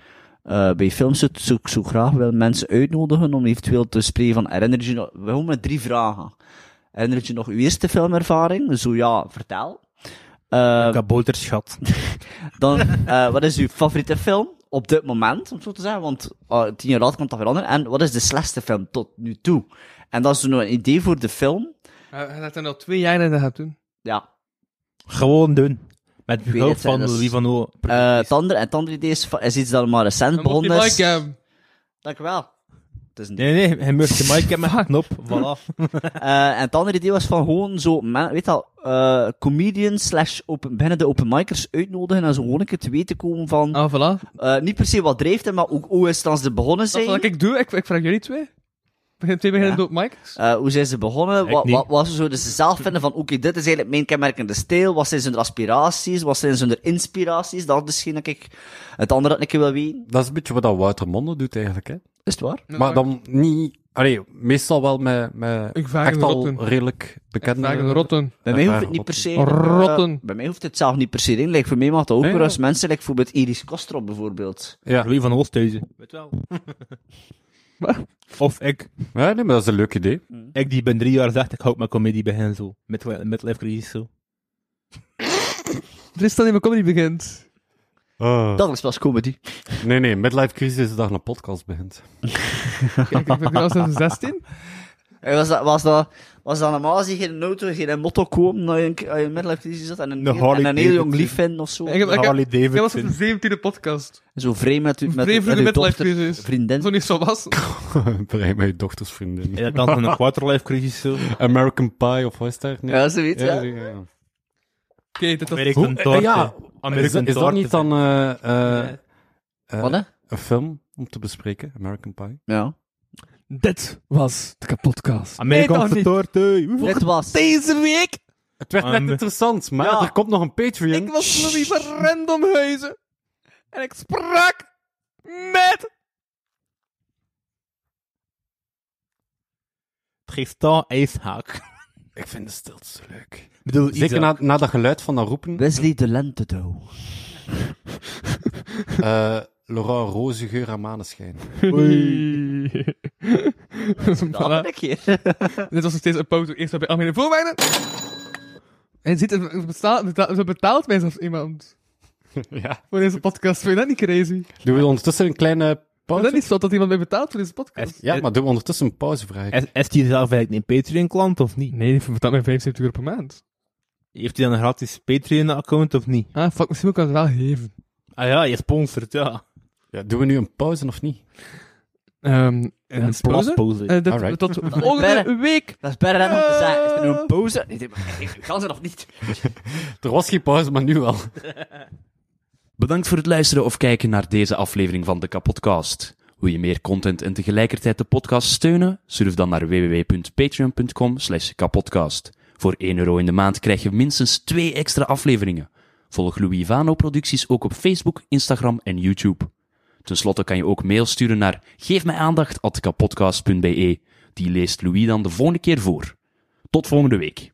Eh, bij films zou zou ik zo graag wel mensen uitnodigen om eventueel te spreken van herinner je nog, we gaan met drie vragen. Herinner je nog uw eerste filmervaring? Zo ja, vertel. Eh, Kabouterschat. dan, eh, wat is uw favoriete film op dit moment, om het zo te zeggen? Want eh, tien jaar later kan dat veranderen. En wat is de slechtste film tot nu toe? En dat is toen een idee voor de film. Hij gaat er al twee jaar in dat gaat doen. Ja. eh, Gewoon doen. Met weet behulp het, hè, van dat is- Louis van O. Eh het andere, en het andere idee is, is iets dat maar recent Dan moet je begonnen is. like hebben. Dankjewel. Het is een Nee, nee, hij murft de mic en met een knop. Voilà. Eh, en het andere idee was van gewoon zo, men- weet al, eh comedians slash open, binnen de open micers uitnodigen en zo gewoon een keer te weten komen van, Ah, voilà. eh, niet per se wat drijft hem, maar ook hoe is het dan ze begonnen Dat is zijn. wat ik doe. Ik, ik vraag jullie twee. Begin twee beginnen Ja. door mics. Eh, hoe zijn ze begonnen? Wat, niet. wat, wat ze zo dus zelf vinden van, oké, dit is eigenlijk mijn kenmerkende stijl. Wat zijn hun aspiraties? Wat zijn hun inspiraties? Dat is misschien dat ik het andere dat ik wil weten. Dat is een beetje wat dat Wouter Monde doet eigenlijk, hè. Is het waar? maar dan niet... Allee, meestal wel met, met Ik vraag echt een al rotten. redelijk bekende... Vragen rotten. Bij mij Ja, hoeft het niet per se... Rotten. eh, bij mij hoeft het zelf niet per se in. Like, voor mij mag dat ook Ja, wel ja. als mensen, like, bijvoorbeeld Iris Kostrop bijvoorbeeld. Ja. Louis van Oosthuizen. Weet wel. of ik. ja, nee, maar dat is een leuk idee. Ik die ben drie jaar zegt, ik houd mijn comedie bij hen zo. Mid- Midlife crisis zo. Er is dan in mijn comedy begint. Dat is pas comedy. Nee, nee, midlife crisis is de dag een podcast begint. Kijk, ik ben al sinds 16. En Eh, was dat, was dat, was dat normaal zie je in een auto, geen motto komen, dat je een, dat je een midlife crisis had en een, De heel- en een heel jong Harley lief vinden of zo. Ik heb, ik heb, Harley ik was op Davidson. de 17e podcast. Zo vreemd met, u- met, Vreemd voor de uw midlife dochter, crisis. vriendin. Zo niet zo was. Brei met je dochters vriendin. En dat dan een quarterlife crisis zo. American Pie of wat is daar? Nee. Ja, zoiets, ja. ja, ja. Oké, dit was... American Torte. Eh, ja, Is, American is dat Torte. niet dan eh, eh, eh, Wat, hè? een film om te bespreken? American Pie? Ja. Dit was de kapotcast. Amerikaanse Nee, toch torte. Dit was... Deze week, Het werd net Am- interessant, maar Ja. er komt nog een Patreon. ik was Louis van Randomhuizen. En ik sprak met... Tristan Ijshaak. Ik vind de stilte zo leuk. Ik bedoel, Zeker Isaac. na, na dat geluid van dat roepen. Wesley de Lentedo. eh, Laurent Roze, geur aan maneschijn. Dat had ik hier. Dit was nog steeds een pauze. Eerst bij algemene voorwaarden. En je ziet, het bestaat- betaalt, het betaalt mij zelfs iemand. ja. voor deze podcast. Vind je dat niet crazy? Is Doen we ondertussen een kleine pauze? Oh, dat niet zo dat iemand mij betaalt voor deze podcast? Ja, maar doen we ondertussen een pauzevraag. Is, is die zelf eigenlijk een Patreon-klant of niet? Nee, die betaalt mij 75 euro per maand. Heeft hij dan een gratis Patreon-account of niet? Ah, fuck, misschien kan ik het wel geven. Ah ja, je sponsort, ja. Ja, doen we nu een pauze of niet? Ehm een pauze? plaspauze. Eh, dit- Alright. Tot volgende week. Dat is bijna dan om te zeggen. Is er nu een pauze? Ik denk, maar, ik- ik Kan ze nog niet? Er was geen pauze, maar nu wel. Bedankt voor het luisteren of kijken naar deze aflevering van de Kapodcast. Wil je meer content en tegelijkertijd de podcast steunen? Surf dan naar www.patreon.com slash kapodcast. Voor 1 euro in de maand krijg je minstens 2 extra afleveringen. Volg Louis Vano producties ook op Facebook, Instagram en YouTube. Ten slotte kan je ook mail sturen naar geefmijaandacht.kapodcast.be. Die leest Louis dan de volgende keer voor. Tot volgende week.